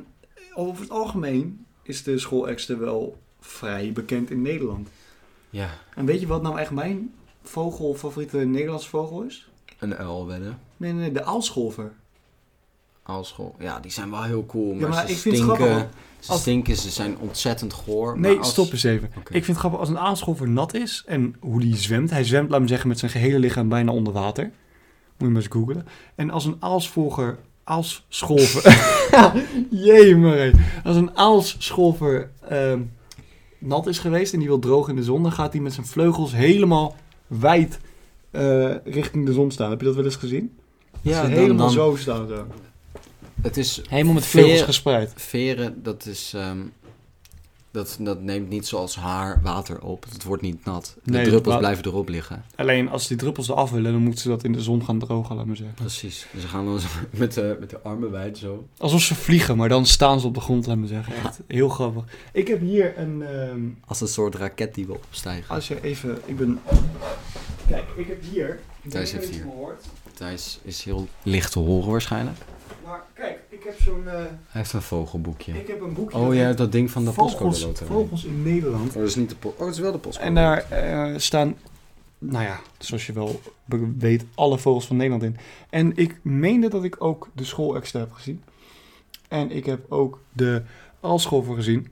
[SPEAKER 1] over het algemeen is de schoolexter wel vrij bekend in Nederland.
[SPEAKER 2] Ja,
[SPEAKER 1] En weet je wat nou echt mijn vogel, favoriete Nederlandse vogel is?
[SPEAKER 2] een uil wedden.
[SPEAKER 1] Nee, nee, nee, de aalscholver.
[SPEAKER 2] Aalschool. Ja, die zijn wel heel cool. Maar,
[SPEAKER 1] maar
[SPEAKER 2] ze
[SPEAKER 1] ik vind het
[SPEAKER 2] stinken.
[SPEAKER 1] grappig,
[SPEAKER 2] Ze
[SPEAKER 1] als-
[SPEAKER 2] stinken, ze zijn ontzettend goor.
[SPEAKER 1] Nee,
[SPEAKER 2] maar als-
[SPEAKER 1] stop eens even.
[SPEAKER 2] Oké.
[SPEAKER 1] Ik vind het grappig als een aanschoffer nat is en hoe die zwemt. Hij zwemt, laat me zeggen, met zijn gehele lichaam bijna onder water. Moet je maar eens googlen. En als een aalsvolger, aalsscholver... Jee, Marie. Als een aalsscholver ehm, nat is geweest en die wil droog in de zon... dan gaat hij met zijn vleugels helemaal wijd eh, richting de zon staan. Heb je dat wel eens gezien?
[SPEAKER 2] Ja,
[SPEAKER 1] Ze
[SPEAKER 2] dan,
[SPEAKER 1] helemaal
[SPEAKER 2] dan-
[SPEAKER 1] zo staan. Zo.
[SPEAKER 2] Het is
[SPEAKER 1] Helemaal met
[SPEAKER 2] vleugels
[SPEAKER 1] vleugels
[SPEAKER 2] Veer-
[SPEAKER 1] gespreid.
[SPEAKER 2] veren, dat is... ehm, dat, dat neemt niet zoals haar water op. Het wordt niet nat. De
[SPEAKER 1] Nee, het
[SPEAKER 2] druppels
[SPEAKER 1] wa-
[SPEAKER 2] blijven erop liggen.
[SPEAKER 1] Alleen als die druppels eraf willen, dan moeten ze dat in de zon gaan drogen, laat maar zeggen.
[SPEAKER 2] Precies. Dus ze gaan dan zo met, de, met de armen wijd zo.
[SPEAKER 1] Alsof ze vliegen, maar dan staan ze op de grond, laat me zeggen. Echt heel grappig. Ik heb hier een. ehm,
[SPEAKER 2] Als een soort raket die wil opstijgen.
[SPEAKER 1] als je even. Ik ben. Kijk, ik heb hier. Ik
[SPEAKER 2] Thijs
[SPEAKER 1] weet
[SPEAKER 2] heeft
[SPEAKER 1] niet of je
[SPEAKER 2] hier.
[SPEAKER 1] me hoort,
[SPEAKER 2] Thijs is heel licht te horen waarschijnlijk.
[SPEAKER 1] Maar kijk, ik heb zo'n. eh,
[SPEAKER 2] Hij heeft een vogelboekje.
[SPEAKER 1] Ik heb een boekje.
[SPEAKER 2] Oh,
[SPEAKER 1] dat
[SPEAKER 2] jij
[SPEAKER 1] heet
[SPEAKER 2] hebt dat ding van de postcode
[SPEAKER 1] vogels,
[SPEAKER 2] loterij.
[SPEAKER 1] vogels in Nederland.
[SPEAKER 2] Oh, dat is niet de po- oh, dat is wel de postcode.
[SPEAKER 1] En daar eh, staan. Nou ja, zoals je wel be- weet, alle vogels van Nederland in. En ik meende dat ik ook de schoolextra heb gezien. En ik heb ook de alscholver gezien.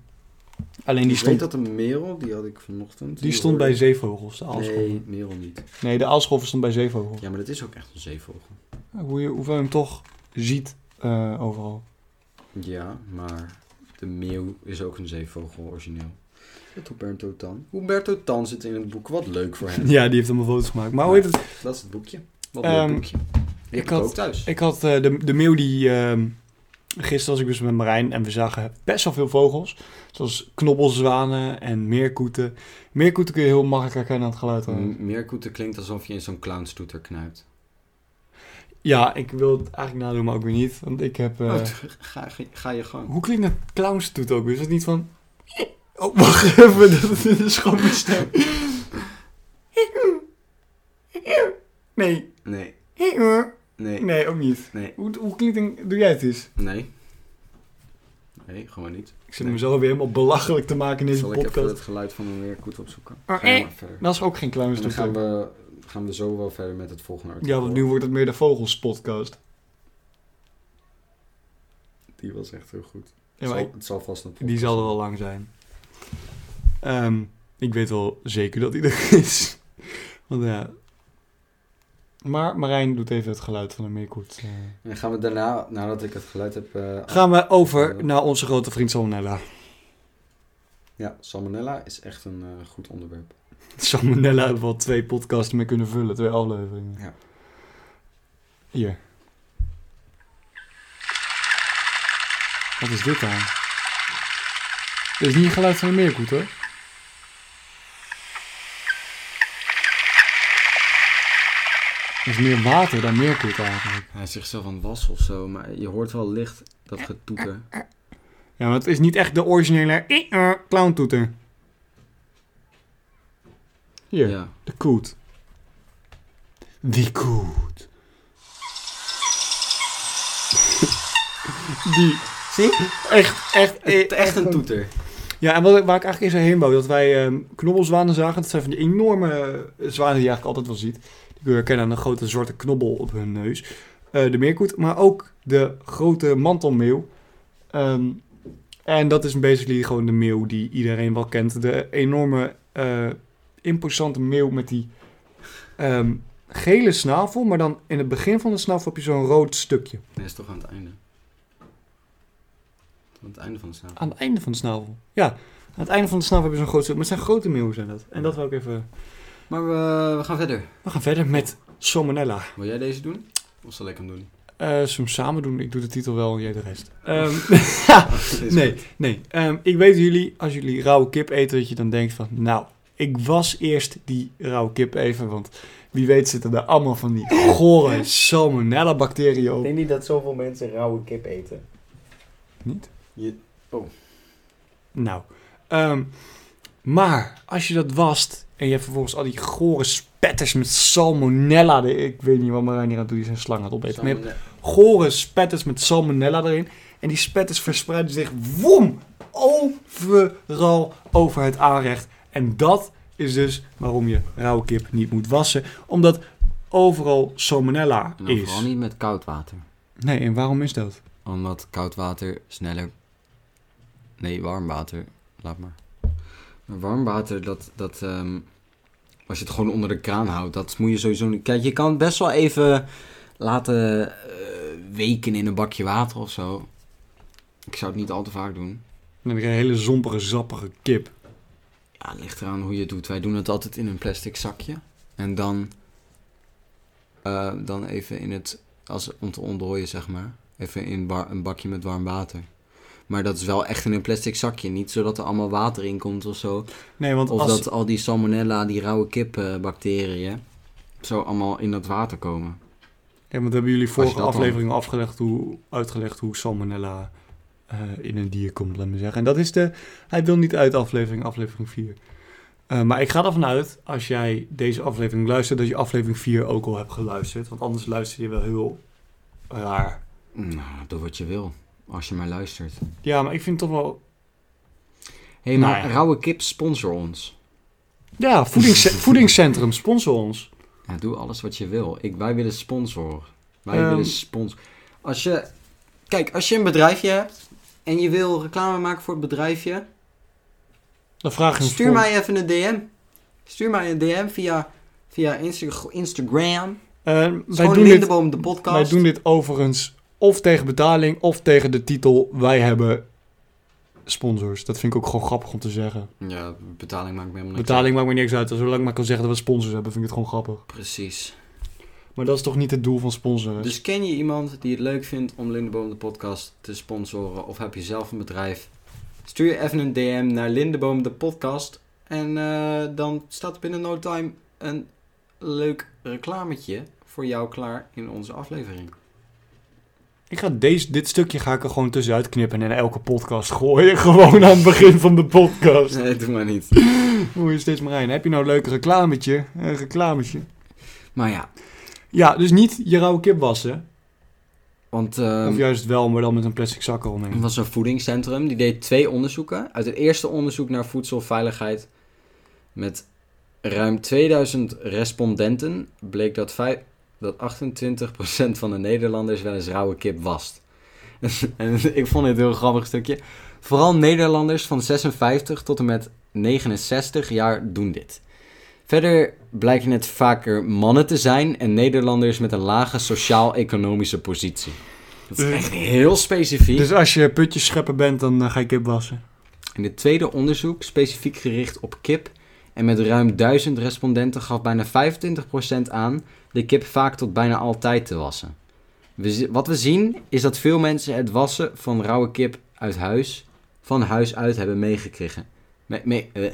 [SPEAKER 1] Alleen die
[SPEAKER 2] ik weet
[SPEAKER 1] stond,
[SPEAKER 2] dat een merel, die had ik vanochtend.
[SPEAKER 1] die stond bij zeevogels, de
[SPEAKER 2] hoorde-
[SPEAKER 1] aalscholver.
[SPEAKER 2] Nee, merel niet.
[SPEAKER 1] Nee, de aalscholver stond bij zeevogel.
[SPEAKER 2] Ja, maar dat is ook echt een zeevogel.
[SPEAKER 1] Hoe je, hoeveel je hem toch ziet eh, overal.
[SPEAKER 2] Ja, maar de meeuw is ook een zeevogel origineel. Met Humberto Tan. Humberto Tan zit in het boek. Wat leuk voor hem.
[SPEAKER 1] Ja, die heeft allemaal foto's gemaakt. Maar hoe heet het?
[SPEAKER 2] Dat is het boekje. Wat
[SPEAKER 1] Ehm,
[SPEAKER 2] een leuk boekje. Die heb
[SPEAKER 1] ik
[SPEAKER 2] ik
[SPEAKER 1] had-
[SPEAKER 2] ook thuis.
[SPEAKER 1] Ik had eh, de, de mail die... ehm, gisteren was ik dus met Marijn en we zagen best wel veel vogels. Zoals knobbelzwanen en meerkoeten. Meerkoeten kun je heel makkelijk herkennen aan het geluid. hoor.
[SPEAKER 2] M- Meerkoeten klinkt alsof je in zo'n clownstoeter knijpt.
[SPEAKER 1] Ja, ik wil het eigenlijk nadoen, maar ook weer niet. Want ik heb... eh,
[SPEAKER 2] Oh, t- ga, ga- ga je gang.
[SPEAKER 1] hoe klinkt een clownstoet ook weer? Is dat niet van... Oh, wacht even. Dat dit is gewoon mijn stem. Nee.
[SPEAKER 2] Nee, nee,
[SPEAKER 1] Nee, ook niet.
[SPEAKER 2] nee,
[SPEAKER 1] Hoe, hoe klinkt een... Doe jij het eens?
[SPEAKER 2] nee. Nee, gewoon niet.
[SPEAKER 1] Ik zit
[SPEAKER 2] Nee.
[SPEAKER 1] mezelf weer helemaal belachelijk te maken in deze
[SPEAKER 2] Zal ik even
[SPEAKER 1] podcast.
[SPEAKER 2] het geluid van een meerkoet opzoeken?
[SPEAKER 1] Ah,
[SPEAKER 2] Ga je
[SPEAKER 1] eh.
[SPEAKER 2] maar verder.
[SPEAKER 1] Dat is ook geen
[SPEAKER 2] En dan
[SPEAKER 1] clowns
[SPEAKER 2] gaan we, gaan we zo wel verder met het volgende artikel.
[SPEAKER 1] Ja, want nu wordt het meer de vogels podcast.
[SPEAKER 2] Die was echt heel goed.
[SPEAKER 1] Ja, maar
[SPEAKER 2] Zal-
[SPEAKER 1] ik-
[SPEAKER 2] het zal vast een
[SPEAKER 1] die zal er wel lang zijn. Ehm, ik weet wel zeker dat hij er is. Want ja. Maar Marijn doet even het geluid van de meerkoet. eh.
[SPEAKER 2] En gaan we daarna, nadat ik het geluid heb... eh,
[SPEAKER 1] Gaan we over naar onze grote vriend Salmonella.
[SPEAKER 2] Ja, salmonella is echt een eh, goed onderwerp.
[SPEAKER 1] Salmonella hebben we al twee podcasts mee kunnen vullen. Twee afleveringen.
[SPEAKER 2] Ja.
[SPEAKER 1] Hier. Wat is dit dan? Dit is niet het geluid van een meerkoet hoor. Dat is meer water dan meerkoet eigenlijk.
[SPEAKER 2] Hij is zichzelf aan het wassen of zo, maar je hoort wel licht dat getoeter.
[SPEAKER 1] Ja, maar het is niet echt de originele eh, eh, clowntoeter. Hier.
[SPEAKER 2] Ja.
[SPEAKER 1] De koet. Die koet. Die. Zie? Echt, echt, eh,
[SPEAKER 2] Het, echt een toeter.
[SPEAKER 1] Ja, en wat, ik- waar ik eigenlijk eerst heen wou, dat wij ehm, knobbelzwanen zagen. Dat zijn van die enorme eh, zwanen die je eigenlijk altijd wel ziet. Die kun je herkennen aan een grote zwarte knobbel op hun neus. eh, de meerkoet, maar ook de grote mantelmeeuw. Ehm, en dat is basically gewoon de meeuw die iedereen wel kent. De enorme, eh, imposante meeuw met die ehm, gele snavel, maar dan in het begin van de snavel heb je zo'n rood stukje.
[SPEAKER 2] Nee, is toch aan het einde. Aan het einde van de snavel.
[SPEAKER 1] Aan het einde van de snavel. Ja, aan het einde van de snavel heb je zo'n groot stuk. Maar het zijn grote meeuwen zijn dat. En dat wil ik even...
[SPEAKER 2] Maar we, we gaan verder.
[SPEAKER 1] We gaan verder met Salmonella.
[SPEAKER 2] Wil jij deze doen? Of zal ik hem doen?
[SPEAKER 1] Eh ze hem samen doen. Ik doe de titel wel en jij de rest. Ehm,
[SPEAKER 2] Deze
[SPEAKER 1] nee, nee. Ehm, ik weet jullie, als jullie rauwe kip eten, dat je dan denkt van... Nou, ik was eerst die rauwe kip even, want wie weet zitten daar allemaal van die gore salmonella bacteriën
[SPEAKER 3] Ik
[SPEAKER 1] op.
[SPEAKER 3] denk niet dat zoveel mensen rauwe kip eten.
[SPEAKER 1] Niet?
[SPEAKER 2] Je- oh.
[SPEAKER 1] Nou. ehm, maar, als je dat wast en je hebt vervolgens al die gore spetters met salmonella... erin- Ik weet niet wat Marijn hier aan doet, die zijn slang aan het opeten. Maar je hebt
[SPEAKER 2] Salmonella.
[SPEAKER 1] gore spetters met salmonella erin. En die spetters verspreiden zich woem overal over het aanrecht. En dat is dus waarom je rauwe kip niet moet wassen. Omdat overal salmonella
[SPEAKER 2] En dan
[SPEAKER 1] is.
[SPEAKER 2] Nou, vooral niet met koud water.
[SPEAKER 1] Nee, en waarom is dat?
[SPEAKER 2] Omdat koud water sneller... Nee, warm water. Laat maar. Maar warm water, dat... dat ehm, als je het gewoon onder de kraan houdt, dat moet je sowieso niet... Kijk, je kan het best wel even laten eh, weken in een bakje water of zo. Ik zou het niet al te vaak doen.
[SPEAKER 1] Dan heb je een hele zompige, zappige kip.
[SPEAKER 2] Ja, het ligt eraan hoe je het doet. Wij doen het altijd in een plastic zakje. En dan... eh, dan even in het... Als, om te ontdooien, zeg maar. Even in wa- een bakje met warm water. Maar dat is wel echt in een plastic zakje. Niet zodat er allemaal water in komt of zo.
[SPEAKER 1] Nee, want
[SPEAKER 2] Of
[SPEAKER 1] als...
[SPEAKER 2] dat al die salmonella, die rauwe kipbacteriën... Zo allemaal in dat water komen.
[SPEAKER 1] Ja, want hebben jullie vorige
[SPEAKER 2] dat dan-
[SPEAKER 1] aflevering afgelegd hoe, uitgelegd hoe salmonella eh, in een dier komt, laat me zeggen. En dat is de... Hij wil niet uit aflevering, aflevering 4. Eh, maar ik ga ervan uit, als jij deze aflevering luistert, dat je aflevering 4 ook al hebt geluisterd. Want anders luister je wel heel raar.
[SPEAKER 2] Nou, doe wat je wil. Als je maar luistert.
[SPEAKER 1] Ja, maar ik vind het toch wel...
[SPEAKER 2] hey, maar
[SPEAKER 1] Nou ja.
[SPEAKER 2] rauwe kip, sponsor ons.
[SPEAKER 1] Ja, voedingsce- voedingscentrum, sponsor ons.
[SPEAKER 2] Ja, doe alles wat je wil. Ik, wij willen sponsor. Wij
[SPEAKER 1] Ehm.
[SPEAKER 2] willen sponsor. Als je, kijk, als je een bedrijfje hebt en je wil reclame maken voor het bedrijfje,
[SPEAKER 1] Dan vraag je een
[SPEAKER 2] stuur
[SPEAKER 1] spon-
[SPEAKER 2] mij even een DM. Stuur mij een DM via, via Insta- Instagram.
[SPEAKER 1] Eh, wij,
[SPEAKER 2] Gewoon
[SPEAKER 1] doen dit,
[SPEAKER 2] Lindeboom de
[SPEAKER 1] wij
[SPEAKER 2] podcast.
[SPEAKER 1] doen dit overigens of tegen betaling of tegen de titel Wij hebben sponsors. Dat vind ik ook gewoon grappig om te zeggen.
[SPEAKER 2] Ja, betaling maakt me helemaal niks.
[SPEAKER 1] Betaling maakt me niks uit. Zolang ik maar kan zeggen dat we sponsors hebben, vind ik het gewoon grappig.
[SPEAKER 2] Precies.
[SPEAKER 1] Maar dat is toch niet het doel van sponsoren?
[SPEAKER 2] Dus ken je iemand die het leuk vindt om Lindeboom de podcast te sponsoren? Of heb je zelf een bedrijf? Stuur je even een DM naar Lindeboom de podcast. En eh, dan staat binnen no time een leuk reclametje voor jou klaar in onze aflevering.
[SPEAKER 1] Ik ga deze, dit stukje ga ik er gewoon tussenuit knippen en in elke podcast gooien. Gewoon aan het begin van de podcast.
[SPEAKER 2] Nee, doe maar niet.
[SPEAKER 1] Hoe is dit Marijn? Heb je nou een leuk reclametje? Een reclametje.
[SPEAKER 2] Maar ja,
[SPEAKER 1] Ja, dus niet je rauwe kip wassen.
[SPEAKER 2] want eh,
[SPEAKER 1] of juist wel, maar dan met een plastic zak
[SPEAKER 2] er
[SPEAKER 1] eromheen.
[SPEAKER 2] was een voedingscentrum. Die deed twee onderzoeken. Uit het eerste onderzoek naar voedselveiligheid met ruim 2000 respondenten bleek dat, vij- dat 28% van de Nederlanders wel eens rauwe kip wast. en ik vond dit een heel grappig stukje. Vooral Nederlanders van 56 tot en met 69 jaar doen dit. Verder blijken het vaker mannen te zijn en Nederlanders met een lage sociaal-economische positie. Dat is
[SPEAKER 1] Dus-
[SPEAKER 2] echt heel specifiek.
[SPEAKER 1] Dus als je putjes scheppen bent, dan eh, ga je kip wassen.
[SPEAKER 2] In het tweede onderzoek, specifiek gericht op kip, en met ruim 1000 respondenten gaf bijna 25% aan de kip vaak tot bijna altijd te wassen. We zi- wat we zien is dat veel mensen het wassen van rauwe kip uit huis, van huis uit hebben meegekregen. Me- me- eh,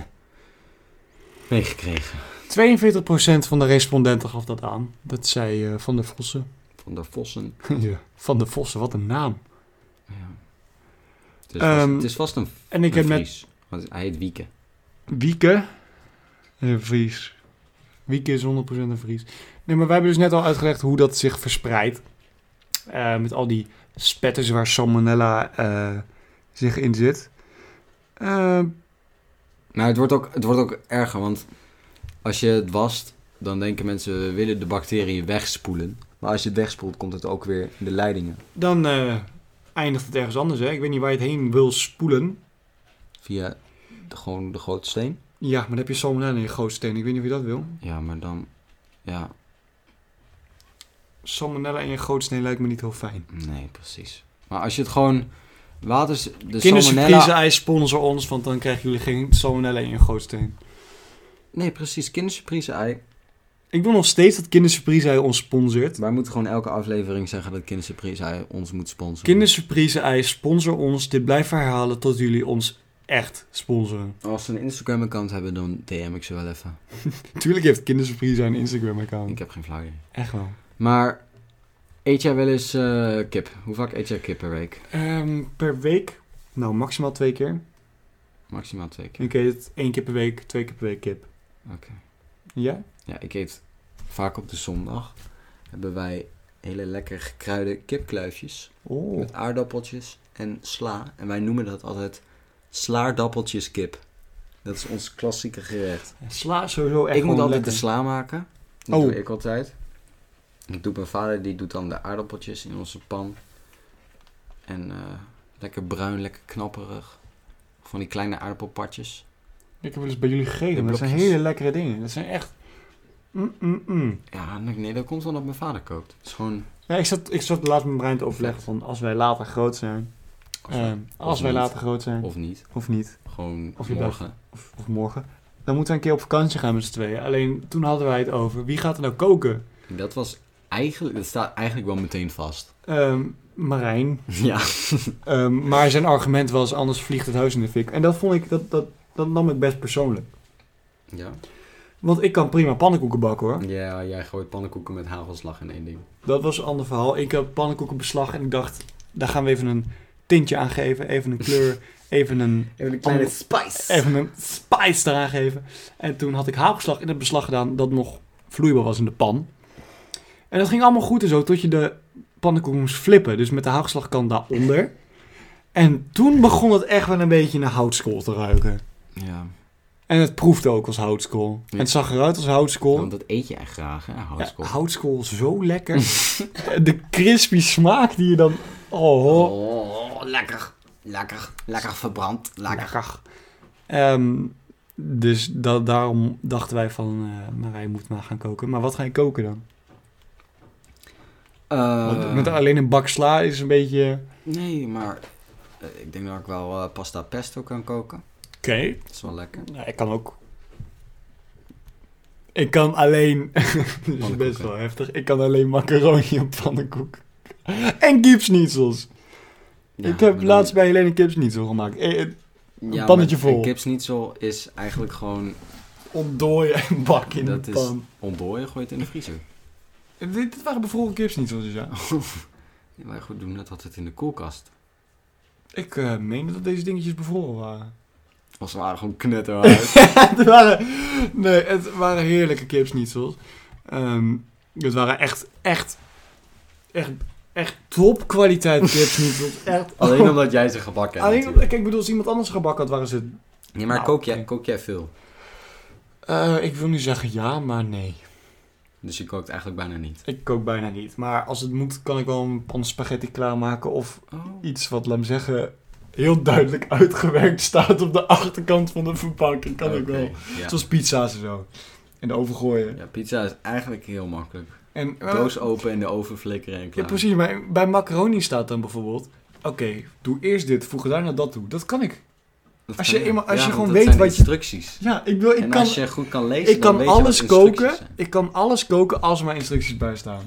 [SPEAKER 2] meegekregen.
[SPEAKER 1] 42% van de respondenten gaf dat aan. Dat zei eh, Van der Vossen.
[SPEAKER 2] Van de vossen.
[SPEAKER 1] ja. Van der Vossen, wat een naam.
[SPEAKER 2] Ja. Het, is vast,
[SPEAKER 1] Ehm,
[SPEAKER 2] het is vast een,
[SPEAKER 1] En ik
[SPEAKER 2] een
[SPEAKER 1] heb net
[SPEAKER 2] Fries. Want hij heet Wieke.
[SPEAKER 1] Wieke. Een Vries. Wieke is 100% een Vries. Nee, maar wij hebben dus net al uitgelegd hoe dat zich verspreidt. Eh, met al die spetters waar salmonella eh, zich in zit. Eh,
[SPEAKER 2] Nou, het wordt ook, het wordt ook erger, want als je het wast, dan denken mensen we willen de bacteriën wegspoelen. Maar als je het wegspoelt, komt het ook weer in de leidingen.
[SPEAKER 1] Dan eh, eindigt het ergens anders, hè? Ik weet niet waar je het heen wil spoelen.
[SPEAKER 2] Via de, gewoon de grote steen.
[SPEAKER 1] Ja, maar dan heb je salmonella in je gootsteen. Ik weet niet of je dat wil.
[SPEAKER 2] Ja, maar dan... Ja,
[SPEAKER 1] Salmonella in je gootsteen lijkt me niet heel fijn.
[SPEAKER 2] nee, precies. Maar als je het gewoon... Water... is- De
[SPEAKER 1] Kindersurprise
[SPEAKER 2] salmonella...
[SPEAKER 1] ijs sponsor ons, want dan krijgen jullie geen salmonella in je gootsteen.
[SPEAKER 2] Nee, precies. Kindersurprise ei.
[SPEAKER 1] Ik wil nog steeds dat Kindersurprise ei ons sponsort.
[SPEAKER 2] Wij moeten gewoon elke aflevering zeggen dat kindersurprise ei ons moet sponsoren.
[SPEAKER 1] Kindersurprise ei sponsor ons. Dit blijven herhalen tot jullie ons echt sponsoren.
[SPEAKER 2] Als ze een Instagram-account hebben, dan DM ik ze wel even.
[SPEAKER 1] Tuurlijk heeft Kindersurprise ei een Instagram account.
[SPEAKER 2] Ik heb geen flauw idee.
[SPEAKER 1] Echt wel.
[SPEAKER 2] Maar eet jij wel eens eh, kip? Hoe vaak eet jij kip per week?
[SPEAKER 1] Ehm, per week? Nou, maximaal twee keer.
[SPEAKER 2] Maximaal twee keer.
[SPEAKER 1] Ik eet het één keer per week, twee keer per week kip.
[SPEAKER 2] Oké.
[SPEAKER 1] Ja?
[SPEAKER 2] Ja, ik eet vaak op de zondag. Hebben wij hele lekker gekruide kipkluifjes.
[SPEAKER 1] Oh.
[SPEAKER 2] Met aardappeltjes en sla. En wij noemen dat altijd slaardappeltjes kip. Dat is ons klassieke gerecht.
[SPEAKER 1] Sla is sowieso echt
[SPEAKER 2] ik moet
[SPEAKER 1] gewoon
[SPEAKER 2] altijd
[SPEAKER 1] lekker.
[SPEAKER 2] de sla maken. Dat
[SPEAKER 1] Oh.
[SPEAKER 2] doe ik altijd. Dat doet mijn vader, die doet dan de aardappeltjes in onze pan. En eh, lekker bruin, lekker knapperig. Van die kleine aardappelpartjes.
[SPEAKER 1] Ik heb wel eens bij jullie gegeten.
[SPEAKER 2] De
[SPEAKER 1] Dat zijn
[SPEAKER 2] blokjes.
[SPEAKER 1] hele lekkere dingen. Dat zijn echt... Mm, mm, mm.
[SPEAKER 2] Ja, nee, dat komt omdat mijn vader kookt. Het is gewoon...
[SPEAKER 1] Ja, ik zat, ik zat laatst met Brian te overleggen van als wij later groot zijn.
[SPEAKER 2] Als
[SPEAKER 1] eh, als
[SPEAKER 2] of
[SPEAKER 1] wij
[SPEAKER 2] niet.
[SPEAKER 1] later groot zijn. Of,
[SPEAKER 2] Of niet.
[SPEAKER 1] niet.
[SPEAKER 2] Gewoon
[SPEAKER 1] Of je
[SPEAKER 2] morgen.
[SPEAKER 1] Of, of morgen. Dan moeten we een keer op vakantie gaan met z'n tweeën. Alleen toen hadden wij het over wie gaat er nou koken?
[SPEAKER 2] Dat was eigenlijk... Dat staat eigenlijk wel meteen vast.
[SPEAKER 1] Ehm, Marijn.
[SPEAKER 2] Ja.
[SPEAKER 1] Ehm, maar zijn argument was anders vliegt het huis in de fik. En dat vond ik, dat, dat, dat nam ik best persoonlijk.
[SPEAKER 2] Ja,
[SPEAKER 1] Want ik kan prima pannenkoeken bakken hoor.
[SPEAKER 2] ja jij gooit pannenkoeken met hagelslag in één ding.
[SPEAKER 1] Dat was een ander verhaal. Ik had pannenkoekenbeslag en ik dacht, daar gaan we even een tintje aan geven. Even een kleur, even een,
[SPEAKER 2] Even een
[SPEAKER 1] kleine
[SPEAKER 2] spice.
[SPEAKER 1] even een spice eraan geven. En toen had ik hagelslag in het beslag gedaan dat nog vloeibaar was in de pan. En dat ging allemaal goed en zo, tot je de pannenkoek moest flippen. Dus met de hagelslagkant daaronder. En toen begon het echt wel een beetje naar houtskool te ruiken.
[SPEAKER 2] Ja,
[SPEAKER 1] En het proefde ook als houtskool. En het zag eruit als houtskool.
[SPEAKER 2] want dat eet jij graag, hè? Houtskool.
[SPEAKER 1] Oh. Ja, houtskool zo lekker. de crispy smaak die je dan... Oh, ho.
[SPEAKER 2] Oh, lekker. Lekker. Lekker verbrand. Lekker.
[SPEAKER 1] lekker. Ehm, dus da- daarom dachten wij van, eh Marij moet maar gaan koken. Maar wat ga je koken dan? Want met alleen een bak sla is een beetje...
[SPEAKER 2] Eh, nee, maar eh, ik denk dat ik wel eh, pasta pesto kan koken.
[SPEAKER 1] Oké,
[SPEAKER 2] Dat is wel lekker.
[SPEAKER 1] ik kan ook... Ik kan alleen... Dit is best
[SPEAKER 2] Pannenkoeken.
[SPEAKER 1] wel heftig. Ik kan alleen macaroni op pannenkoek. En kipsnietsels.
[SPEAKER 2] Ja,
[SPEAKER 1] ik
[SPEAKER 2] maar
[SPEAKER 1] heb
[SPEAKER 2] dan-
[SPEAKER 1] laatst bij Helene kipsnietsel gemaakt. Eh, eh,
[SPEAKER 2] Ja,
[SPEAKER 1] pannetje
[SPEAKER 2] maar
[SPEAKER 1] vol.
[SPEAKER 2] Een kipsnitzel is eigenlijk gewoon
[SPEAKER 1] Ontdooien en bak in
[SPEAKER 2] Dat
[SPEAKER 1] de
[SPEAKER 2] is-
[SPEAKER 1] pan.
[SPEAKER 2] ontdooien, gooi het in de vriezer.
[SPEAKER 1] Dit, dit waren bevroren kipsnietsels, dus ja.
[SPEAKER 2] Ja, Wij goed doen dat altijd in de koelkast.
[SPEAKER 1] Ik eh meende dat deze dingetjes bevroren waren.
[SPEAKER 2] Als we waren gewoon knetterhard.
[SPEAKER 1] het waren, nee, het waren heerlijke kipsnietsels. Ehm het waren echt, echt, echt, echt topkwaliteit kipsnietsels. echt.
[SPEAKER 2] Alleen omdat jij ze gebakken hebt.
[SPEAKER 1] Alleen,
[SPEAKER 2] natuurlijk.
[SPEAKER 1] kijk, ik bedoel, als iemand anders gebakken had, waren ze...
[SPEAKER 2] Nee, maar
[SPEAKER 1] Nou,
[SPEAKER 2] kook, jij,
[SPEAKER 1] oké.
[SPEAKER 2] kook jij veel?
[SPEAKER 1] Eh, ik wil nu zeggen ja, maar nee.
[SPEAKER 2] Dus je kookt eigenlijk bijna niet.
[SPEAKER 1] Ik kook bijna niet. Maar als het moet, kan ik wel een pan spaghetti klaarmaken of
[SPEAKER 2] Oh.
[SPEAKER 1] iets wat, laat me zeggen, heel duidelijk uitgewerkt staat op de achterkant van de verpakking. Kan ik wel.
[SPEAKER 2] Ja.
[SPEAKER 1] Zoals pizza's en zo. En de oven gooien.
[SPEAKER 2] Ja, pizza is eigenlijk heel makkelijk.
[SPEAKER 1] En,
[SPEAKER 2] Doos open in de oven flikkeren en
[SPEAKER 1] Ja,
[SPEAKER 2] klaar.
[SPEAKER 1] precies. Maar bij macaroni staat dan bijvoorbeeld... Oké, doe eerst dit, voeg daarna dat toe. Dat kan ik.
[SPEAKER 2] Dat
[SPEAKER 1] als
[SPEAKER 2] kan
[SPEAKER 1] je eenmaal- als je
[SPEAKER 2] want
[SPEAKER 1] gewoon
[SPEAKER 2] dat
[SPEAKER 1] weet
[SPEAKER 2] zijn
[SPEAKER 1] wat je-
[SPEAKER 2] instructies.
[SPEAKER 1] Ja, ik wil... Ik
[SPEAKER 2] en
[SPEAKER 1] kan,
[SPEAKER 2] als je goed kan lezen,
[SPEAKER 1] ik
[SPEAKER 2] dan
[SPEAKER 1] kan
[SPEAKER 2] weet je wat
[SPEAKER 1] alles
[SPEAKER 2] instructies
[SPEAKER 1] koken.
[SPEAKER 2] zijn.
[SPEAKER 1] Ik kan alles koken als er maar instructies bij staan.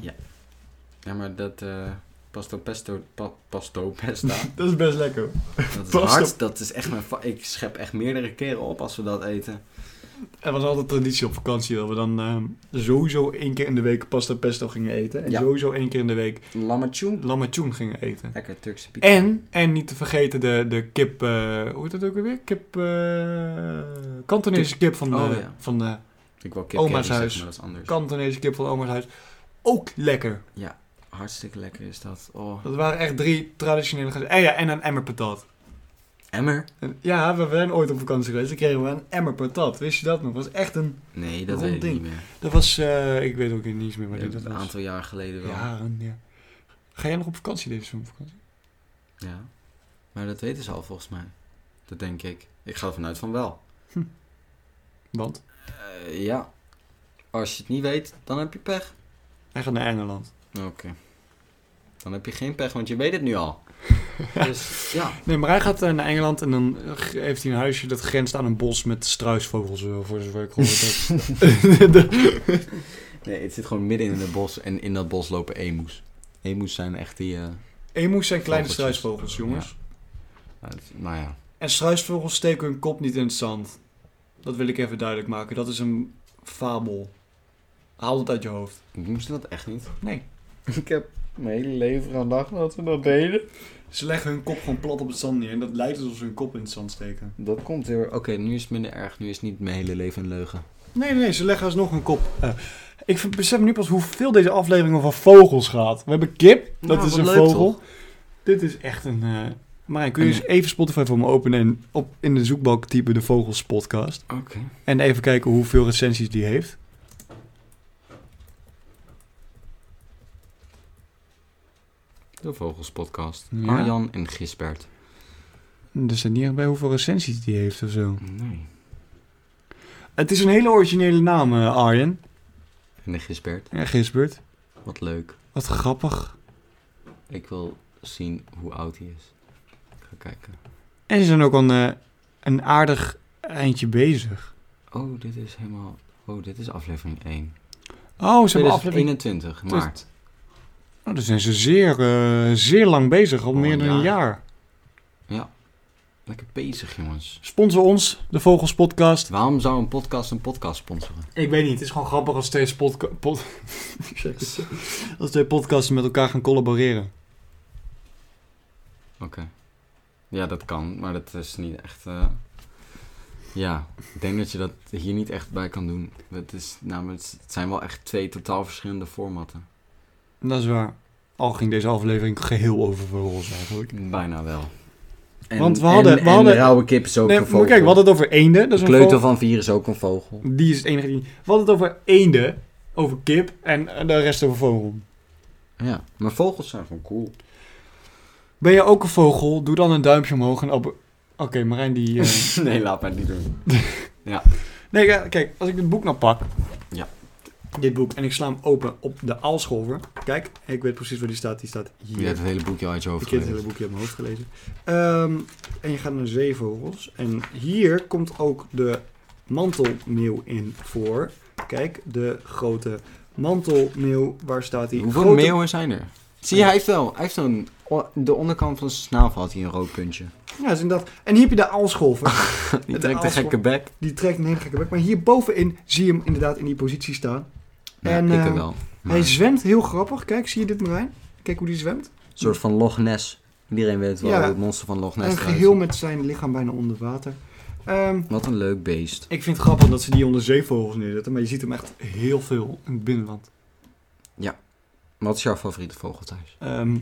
[SPEAKER 2] Ja, maar dat eh, pasto pesto, pa- pasto pesta,
[SPEAKER 1] Dat is best lekker.
[SPEAKER 2] dat is
[SPEAKER 1] Pasto.
[SPEAKER 2] hard. Dat is echt mijn... fa- Ik schep echt meerdere keren op als we dat eten.
[SPEAKER 1] Er was altijd traditie op vakantie dat we dan ehm, sowieso één keer in de week pasta pesto gingen eten. En
[SPEAKER 2] Ja.
[SPEAKER 1] sowieso één keer in de week
[SPEAKER 2] Lammetjoen.
[SPEAKER 1] lammetjoen gingen eten.
[SPEAKER 2] Lekker Turkse pizza.
[SPEAKER 1] En, en niet te vergeten de, de kip, eh, hoe heet dat ook alweer? Kip, eh Kantonese kip van de,
[SPEAKER 2] Oh, ja.
[SPEAKER 1] van de
[SPEAKER 2] Ik wil kip
[SPEAKER 1] Oma's
[SPEAKER 2] curry zeggen,
[SPEAKER 1] huis.
[SPEAKER 2] maar dat is anders.
[SPEAKER 1] Kantonese kip van oma's huis. Ook lekker.
[SPEAKER 2] Hartstikke lekker is dat. Oh.
[SPEAKER 1] Eh, Dat waren echt drie traditionele gerechten. En ja, en een emmer patat.
[SPEAKER 2] Emmer?
[SPEAKER 1] En- ja, we zijn ooit op vakantie geweest. Dan kregen we een emmer patat. Wist je dat nog? Dat was echt een...
[SPEAKER 2] Nee, dat
[SPEAKER 1] Rond
[SPEAKER 2] weet ik
[SPEAKER 1] ding.
[SPEAKER 2] niet meer.
[SPEAKER 1] Dat was... eh, ik weet ook niets meer wat
[SPEAKER 2] Ja,
[SPEAKER 1] dit dat
[SPEAKER 2] een
[SPEAKER 1] was.
[SPEAKER 2] aantal jaar geleden wel. Ja.
[SPEAKER 1] Jaren, ja. Ga jij nog op vakantie deze zomervakantie?
[SPEAKER 2] Maar dat weten ze al volgens mij. Dat denk ik. Ik ga ervan uit van wel.
[SPEAKER 1] Want?
[SPEAKER 2] Eh, ja. Als je het niet weet, dan heb je pech.
[SPEAKER 1] Hij gaat naar Engeland.
[SPEAKER 2] Oké. Dan heb je geen pech, want je weet het nu al. dus ja.
[SPEAKER 1] Nee, maar hij gaat eh, naar Engeland en dan eh, g- heeft hij een huisje dat grenst aan een bos met struisvogels, eh, voor zover ik gehoord heb.
[SPEAKER 2] Nee, het zit gewoon midden in het bos en in dat bos lopen emoes. Emoes zijn echt die... eh,
[SPEAKER 1] Emoes zijn kleine
[SPEAKER 2] Vogeltjes.
[SPEAKER 1] struisvogels, jongens.
[SPEAKER 2] nou, dat- nou ja.
[SPEAKER 1] En struisvogels steken hun kop niet in het zand. Dat wil ik even duidelijk maken. Dat is een fabel. Haal het uit je hoofd.
[SPEAKER 2] Ik moest dat echt niet.
[SPEAKER 1] Nee.
[SPEAKER 2] Ik heb mijn hele leven aan dag laten naar beneden.
[SPEAKER 1] Ze leggen hun kop gewoon plat op het zand neer. En dat lijkt alsof ze hun kop in het zand steken.
[SPEAKER 2] Dat komt heel erg. Oké, nu is het minder erg. Nu is het niet mijn hele leven een leugen.
[SPEAKER 1] Nee, nee, ze leggen alsnog hun kop. eh. ik vind- besef nu pas hoeveel deze aflevering over vogels gaat. We hebben kip, dat
[SPEAKER 2] Ja,
[SPEAKER 1] is
[SPEAKER 2] Nou, wat
[SPEAKER 1] een
[SPEAKER 2] leuk,
[SPEAKER 1] vogel. Dit is echt een. eh Marijn, kun je
[SPEAKER 2] Een-
[SPEAKER 1] eens even Spotify voor me openen en op, in de zoekbalk typen de Vogels Podcast?
[SPEAKER 2] Oké.
[SPEAKER 1] En even kijken hoeveel recensies die heeft.
[SPEAKER 2] De Vogelspodcast.
[SPEAKER 1] Ja.
[SPEAKER 2] Arjan en Gisbert.
[SPEAKER 1] Er staat niet echt bij hoeveel recensies die heeft of zo.
[SPEAKER 2] Nee.
[SPEAKER 1] Het is een hele originele naam, eh, Arjen.
[SPEAKER 2] En de Gisbert.
[SPEAKER 1] Ja, Gisbert.
[SPEAKER 2] Wat leuk.
[SPEAKER 1] Wat grappig.
[SPEAKER 2] Ik wil zien hoe oud hij is. Ik ga kijken.
[SPEAKER 1] En ze zijn ook al een, eh, een aardig eindje bezig.
[SPEAKER 2] Oh, dit is helemaal... Oh, dit is aflevering 1.
[SPEAKER 1] Oh, ze hebben aflevering...
[SPEAKER 2] 2021, maart.
[SPEAKER 1] Oh, dan zijn ze zeer, eh, zeer lang bezig, al
[SPEAKER 2] Al
[SPEAKER 1] meer
[SPEAKER 2] een
[SPEAKER 1] dan een
[SPEAKER 2] jaar.
[SPEAKER 1] jaar.
[SPEAKER 2] Ja. Lekker bezig, jongens.
[SPEAKER 1] Sponsor ons, de Vogels Podcast.
[SPEAKER 2] Waarom zou een podcast een podcast sponsoren?
[SPEAKER 1] Ik weet niet, het is gewoon grappig als twee, podca- pod- als twee podcasts met elkaar gaan collaboreren.
[SPEAKER 2] Ja, dat kan, maar dat is niet echt. eh, Ja, ik denk dat je dat hier niet echt bij kan doen. Het, is, namelijk, het zijn wel echt twee totaal verschillende formatten.
[SPEAKER 1] Dat is waar. Al ging deze aflevering geheel over vogels eigenlijk.
[SPEAKER 2] Bijna wel.
[SPEAKER 1] Want we hadden-
[SPEAKER 2] En,
[SPEAKER 1] we hadden-
[SPEAKER 2] en de rauwe kip is ook
[SPEAKER 1] Nee,
[SPEAKER 2] een
[SPEAKER 1] maar
[SPEAKER 2] vogel.
[SPEAKER 1] kijk, we hadden het over eenden. Dat
[SPEAKER 2] de
[SPEAKER 1] is een
[SPEAKER 2] kleuter
[SPEAKER 1] vogel.
[SPEAKER 2] van vier is ook een vogel.
[SPEAKER 1] Die is het enige die... We hadden het over eenden, over kip en eh, de rest over vogel.
[SPEAKER 2] Ja, maar vogels zijn gewoon cool.
[SPEAKER 1] Ben je ook een vogel? Doe dan een duimpje omhoog en abonneer. Oké, Marijn die... eh,
[SPEAKER 2] nee, laat mij het niet doen.
[SPEAKER 1] nee, ja, kijk, als ik dit boek nou pak...
[SPEAKER 2] Ja.
[SPEAKER 1] Dit boek, en ik sla hem open op de aalscholver. Kijk, ik weet precies waar die staat. Die staat
[SPEAKER 2] Je
[SPEAKER 1] hier.
[SPEAKER 2] hebt het hele boekje al uit je hoofd
[SPEAKER 1] ik heb het hele
[SPEAKER 2] gelezen.
[SPEAKER 1] boekje uit mijn hoofd gelezen. Ehm, en je gaat naar zeevogels. En hier komt ook de mantelmeeuw in voor. Kijk, de grote mantelmeeuw. Waar staat die?
[SPEAKER 2] Hoeveel
[SPEAKER 1] grote...
[SPEAKER 2] meeuwen zijn er? Zie je, hij heeft wel. Hij heeft een, de onderkant van zijn snavel had hij een rood puntje.
[SPEAKER 1] Ja, dat is inderdaad. En hier heb je de aalscholver.
[SPEAKER 2] Die
[SPEAKER 1] Het
[SPEAKER 2] trekt een
[SPEAKER 1] aalschol-
[SPEAKER 2] gekke bek.
[SPEAKER 1] Die trekt een hele gekke bek. Maar hier bovenin zie je hem inderdaad in die positie staan.
[SPEAKER 2] Ja,
[SPEAKER 1] En,
[SPEAKER 2] ik
[SPEAKER 1] eh,
[SPEAKER 2] er wel. Maar
[SPEAKER 1] Hij zwemt heel grappig. Kijk, zie je dit Marijn? Kijk hoe die zwemt.
[SPEAKER 2] Een soort van Loch Ness. Iedereen weet wel
[SPEAKER 1] Ja.
[SPEAKER 2] hoe het monster van Loch Ness
[SPEAKER 1] En
[SPEAKER 2] eruit
[SPEAKER 1] geheel
[SPEAKER 2] ziet.
[SPEAKER 1] met zijn lichaam bijna onder water. Ehm,
[SPEAKER 2] Wat een leuk beest.
[SPEAKER 1] ik vind het grappig dat ze die onder zeevogels neerzetten. Maar je ziet hem echt heel veel in het binnenland.
[SPEAKER 2] Wat is jouw favoriete vogel thuis?
[SPEAKER 1] Ehm,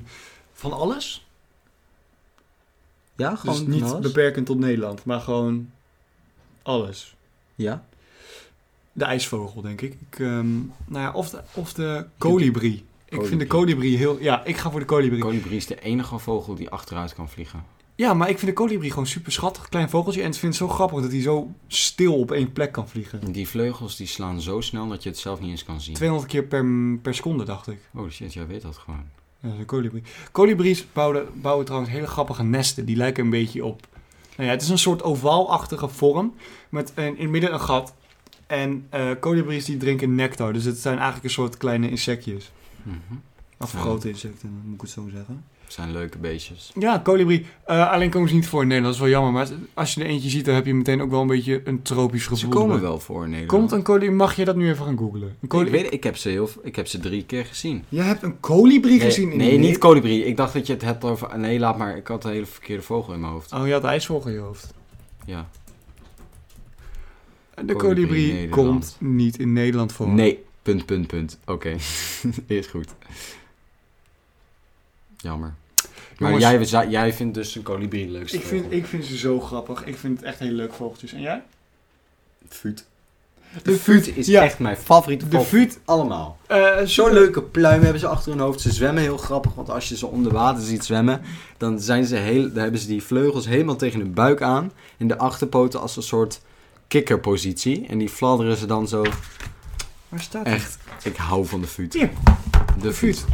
[SPEAKER 1] van alles?
[SPEAKER 2] Ja,
[SPEAKER 1] Dus
[SPEAKER 2] gewoon
[SPEAKER 1] niet
[SPEAKER 2] alles?
[SPEAKER 1] beperkend tot Nederland. Maar gewoon alles.
[SPEAKER 2] Ja?
[SPEAKER 1] De ijsvogel, denk ik. ik ehm, nou ja, of de, of de kolibrie. Ik vind de
[SPEAKER 2] Kolibrie.
[SPEAKER 1] kolibrie heel... Ja, ik ga voor de kolibrie.
[SPEAKER 2] Kolibrie is de enige vogel die achteruit kan vliegen.
[SPEAKER 1] Ja, maar ik vind de kolibrie gewoon super schattig. Klein vogeltje. En het vind het zo grappig dat hij zo stil op één plek kan vliegen.
[SPEAKER 2] Die vleugels die slaan zo snel dat je het zelf niet eens kan zien.
[SPEAKER 1] 200 keer per, per seconde, dacht ik.
[SPEAKER 2] Oh shit, jij weet dat gewoon.
[SPEAKER 1] Ja, de kolibrie. Kolibries bouwen, bouwen trouwens hele grappige nesten. Die lijken een beetje op... Nou ja, het is een soort ovaalachtige vorm. Met een, in het midden een gat. En eh kolibries die drinken nectar. Dus het zijn eigenlijk een soort kleine insectjes.
[SPEAKER 2] Mhm.
[SPEAKER 1] Of
[SPEAKER 2] Ja.
[SPEAKER 1] grote insecten, moet ik het zo zeggen.
[SPEAKER 2] Het zijn leuke beestjes.
[SPEAKER 1] Ja, kolibrie. Eh, alleen komen ze niet voor in Nederland. Dat is wel jammer. Maar het- als je er eentje ziet, dan heb je meteen ook wel een beetje een tropisch gevoel.
[SPEAKER 2] Ze
[SPEAKER 1] erbij.
[SPEAKER 2] komen wel voor in Nederland.
[SPEAKER 1] Komt een kolibrie? Mag je dat nu even gaan googlen? Een
[SPEAKER 2] ik,
[SPEAKER 1] kolibrie.
[SPEAKER 2] weet, ik, heb ze heel, ik heb ze drie keer gezien.
[SPEAKER 1] Jij hebt een kolibrie
[SPEAKER 2] nee,
[SPEAKER 1] gezien in
[SPEAKER 2] nee,
[SPEAKER 1] je
[SPEAKER 2] niet
[SPEAKER 1] leven?
[SPEAKER 2] kolibrie. Ik dacht dat je het hebt over... Nee, laat maar. Ik had een hele verkeerde vogel in mijn hoofd.
[SPEAKER 1] Oh, je had ijsvogel in je hoofd.
[SPEAKER 2] Ja.
[SPEAKER 1] En De
[SPEAKER 2] Kolibrie
[SPEAKER 1] kolibrie
[SPEAKER 2] in Nederland.
[SPEAKER 1] komt niet in Nederland voor.
[SPEAKER 2] Nee, punt, punt, punt. Oké, is goed. Jammer. Maar
[SPEAKER 1] Jongens.
[SPEAKER 2] jij, jij- jij vindt dus een kolibrie de leukste
[SPEAKER 1] Ik vind,
[SPEAKER 2] vogel.
[SPEAKER 1] ik vind ze zo grappig. Ik vind het echt heel leuk vogeltjes. En jij?
[SPEAKER 2] Vuut.
[SPEAKER 1] De
[SPEAKER 2] De
[SPEAKER 1] vuut,
[SPEAKER 2] vuut is
[SPEAKER 1] ja.
[SPEAKER 2] echt mijn favoriete
[SPEAKER 1] De
[SPEAKER 2] vogel.
[SPEAKER 1] vuut.
[SPEAKER 2] allemaal.
[SPEAKER 1] Eh,
[SPEAKER 2] Zo'n leuke pluim hebben ze achter hun hoofd. Ze zwemmen heel grappig, want als je ze onder water ziet zwemmen, dan, zijn ze heel, dan hebben ze die vleugels helemaal tegen hun buik aan. En de achterpoten als een soort kikkerpositie. En die fladderen ze dan zo.
[SPEAKER 1] Waar staat het?
[SPEAKER 2] Echt, ik hou van de vuut.
[SPEAKER 1] Hier.
[SPEAKER 2] De vuut.
[SPEAKER 1] Dat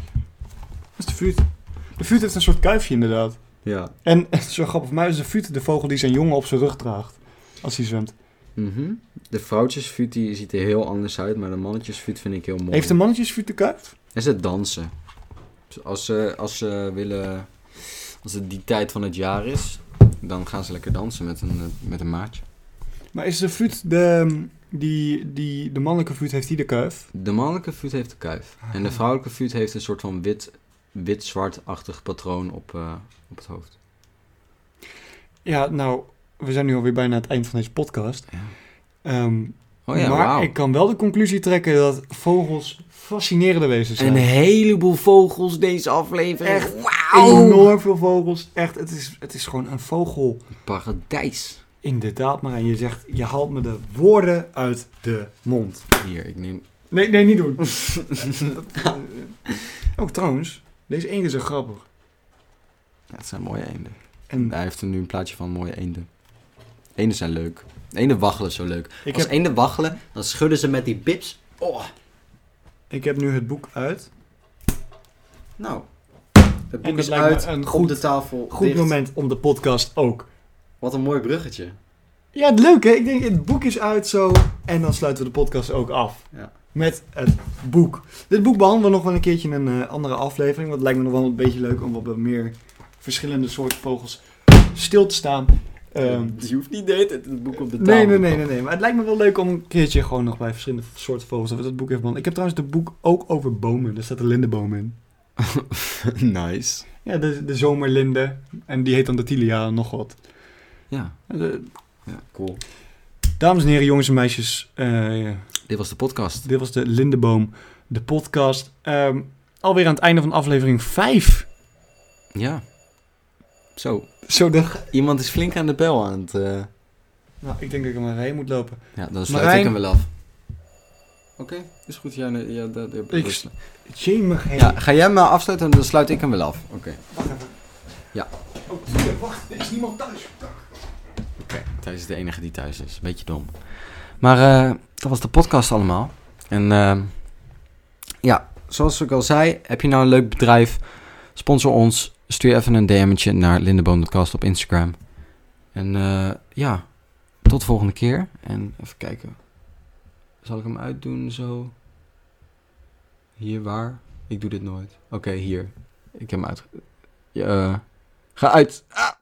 [SPEAKER 1] is de vuut. De vuut heeft een soort kuifje inderdaad.
[SPEAKER 2] Ja.
[SPEAKER 1] En het is zo grappig. Voor mij is de vuut de vogel die zijn jongen op zijn rug draagt. Als hij zwemt.
[SPEAKER 2] Mhm. De vrouwtjesvuut die ziet er heel anders uit, maar de mannetjesvuut vind ik heel mooi.
[SPEAKER 1] Heeft de mannetjesvuut de kuif?
[SPEAKER 2] En ze dansen. Dus Als ze, als ze willen, als het die tijd van het jaar is, dan gaan ze lekker dansen met een, eh, met een maatje.
[SPEAKER 1] Maar is de vuut de... Die, die, de mannelijke vuut heeft die de kuif?
[SPEAKER 2] De mannelijke vuut heeft de kuif. En de vrouwelijke vuut heeft een soort van wit, wit-zwart-achtig patroon op, eh, op het hoofd.
[SPEAKER 1] Ja, nou... We zijn nu alweer bijna aan het eind van deze podcast.
[SPEAKER 2] Ja.
[SPEAKER 1] Ehm,
[SPEAKER 2] Oh ja,
[SPEAKER 1] maar
[SPEAKER 2] wauw.
[SPEAKER 1] ik kan wel de conclusie trekken dat vogels fascinerende wezens zijn.
[SPEAKER 2] Een heleboel vogels deze aflevering.
[SPEAKER 1] Echt
[SPEAKER 2] wauw!
[SPEAKER 1] Enorm veel vogels. Echt, het is, het is gewoon een vogel.
[SPEAKER 2] Paradijs.
[SPEAKER 1] Inderdaad, maar en je zegt, je haalt me de woorden uit de mond.
[SPEAKER 2] Hier, ik neem...
[SPEAKER 1] Nee, nee, niet doen. Ook trouwens, deze eend is zo grappig.
[SPEAKER 2] Ja, het zijn mooie eenden.
[SPEAKER 1] En
[SPEAKER 2] Hij heeft er nu een plaatje van mooie eenden. Eenden zijn leuk. Eenden waggelen is zo leuk.
[SPEAKER 1] ik
[SPEAKER 2] Als
[SPEAKER 1] heb,
[SPEAKER 2] eenden waggelen, dan schudden ze met die bips. Oh,
[SPEAKER 1] ik heb nu het boek uit.
[SPEAKER 2] nou. Het
[SPEAKER 1] En
[SPEAKER 2] boek
[SPEAKER 1] dat
[SPEAKER 2] is
[SPEAKER 1] lijkt me
[SPEAKER 2] uit,
[SPEAKER 1] een
[SPEAKER 2] op
[SPEAKER 1] goed-
[SPEAKER 2] de tafel,
[SPEAKER 1] Goed
[SPEAKER 2] dicht.
[SPEAKER 1] moment om de podcast ook.
[SPEAKER 2] Wat een mooi bruggetje.
[SPEAKER 1] Ja, het leuk hè? Ik denk, het boek is uit zo. En dan sluiten we de podcast ook af.
[SPEAKER 2] Ja.
[SPEAKER 1] Met het boek. Dit boek behandelen we nog wel een keertje in een eh, andere aflevering. Want het lijkt me nog wel een beetje leuk om wat meer verschillende soorten vogels stil te staan. Ehm,
[SPEAKER 2] je hoeft niet de hele tijd het boek op de tafel
[SPEAKER 1] nee, nee,
[SPEAKER 2] te
[SPEAKER 1] nee, nee, nee. Maar het lijkt me wel leuk om een keertje gewoon nog bij verschillende soorten vogels. Dat we dat boek even behandelen. Ik heb trouwens het boek ook over bomen. Daar staat de lindenboom in.
[SPEAKER 2] nice.
[SPEAKER 1] Ja, de, de zomerlinde. En die heet dan Datilia, nog wat.
[SPEAKER 2] Ja,
[SPEAKER 1] Eh,
[SPEAKER 2] ja, cool.
[SPEAKER 1] Dames en heren, jongens en meisjes. eh,
[SPEAKER 2] Dit was de podcast.
[SPEAKER 1] Dit was de Lindeboom, de podcast. Ehm, alweer aan het einde van aflevering 5.
[SPEAKER 2] Ja. Zo,
[SPEAKER 1] Zo dag.
[SPEAKER 2] iemand is flink aan de bel aan het... eh,
[SPEAKER 1] Nou, ik denk dat ik er maar heen moet lopen.
[SPEAKER 2] Ja, dan sluit
[SPEAKER 1] Marijn.
[SPEAKER 2] ik hem wel af. Oké, is goed. Ja, nee, ja, dat- dat-
[SPEAKER 1] Ik-
[SPEAKER 2] dat-
[SPEAKER 1] Jamie heen.
[SPEAKER 2] ja, ga jij hem maar afsluiten en dan sluit ik hem wel af. Oké,
[SPEAKER 1] Wacht even.
[SPEAKER 2] Ja.
[SPEAKER 1] Oh, tuurlijk, wacht. Er is niemand thuis.
[SPEAKER 2] Thijs is de enige die thuis is. Beetje dom. Maar eh, dat was de podcast allemaal. En ehm, ja, zoals ik al zei, heb je nou een leuk bedrijf, sponsor ons. Stuur even een DM'tje naar lindeboom.cast op Instagram. En eh, ja, tot de volgende keer. En even kijken. Zal ik hem uitdoen zo? Hier, waar? Ik doe dit nooit. Oké, hier. Ik heb hem uit... Ja, eh, ga uit!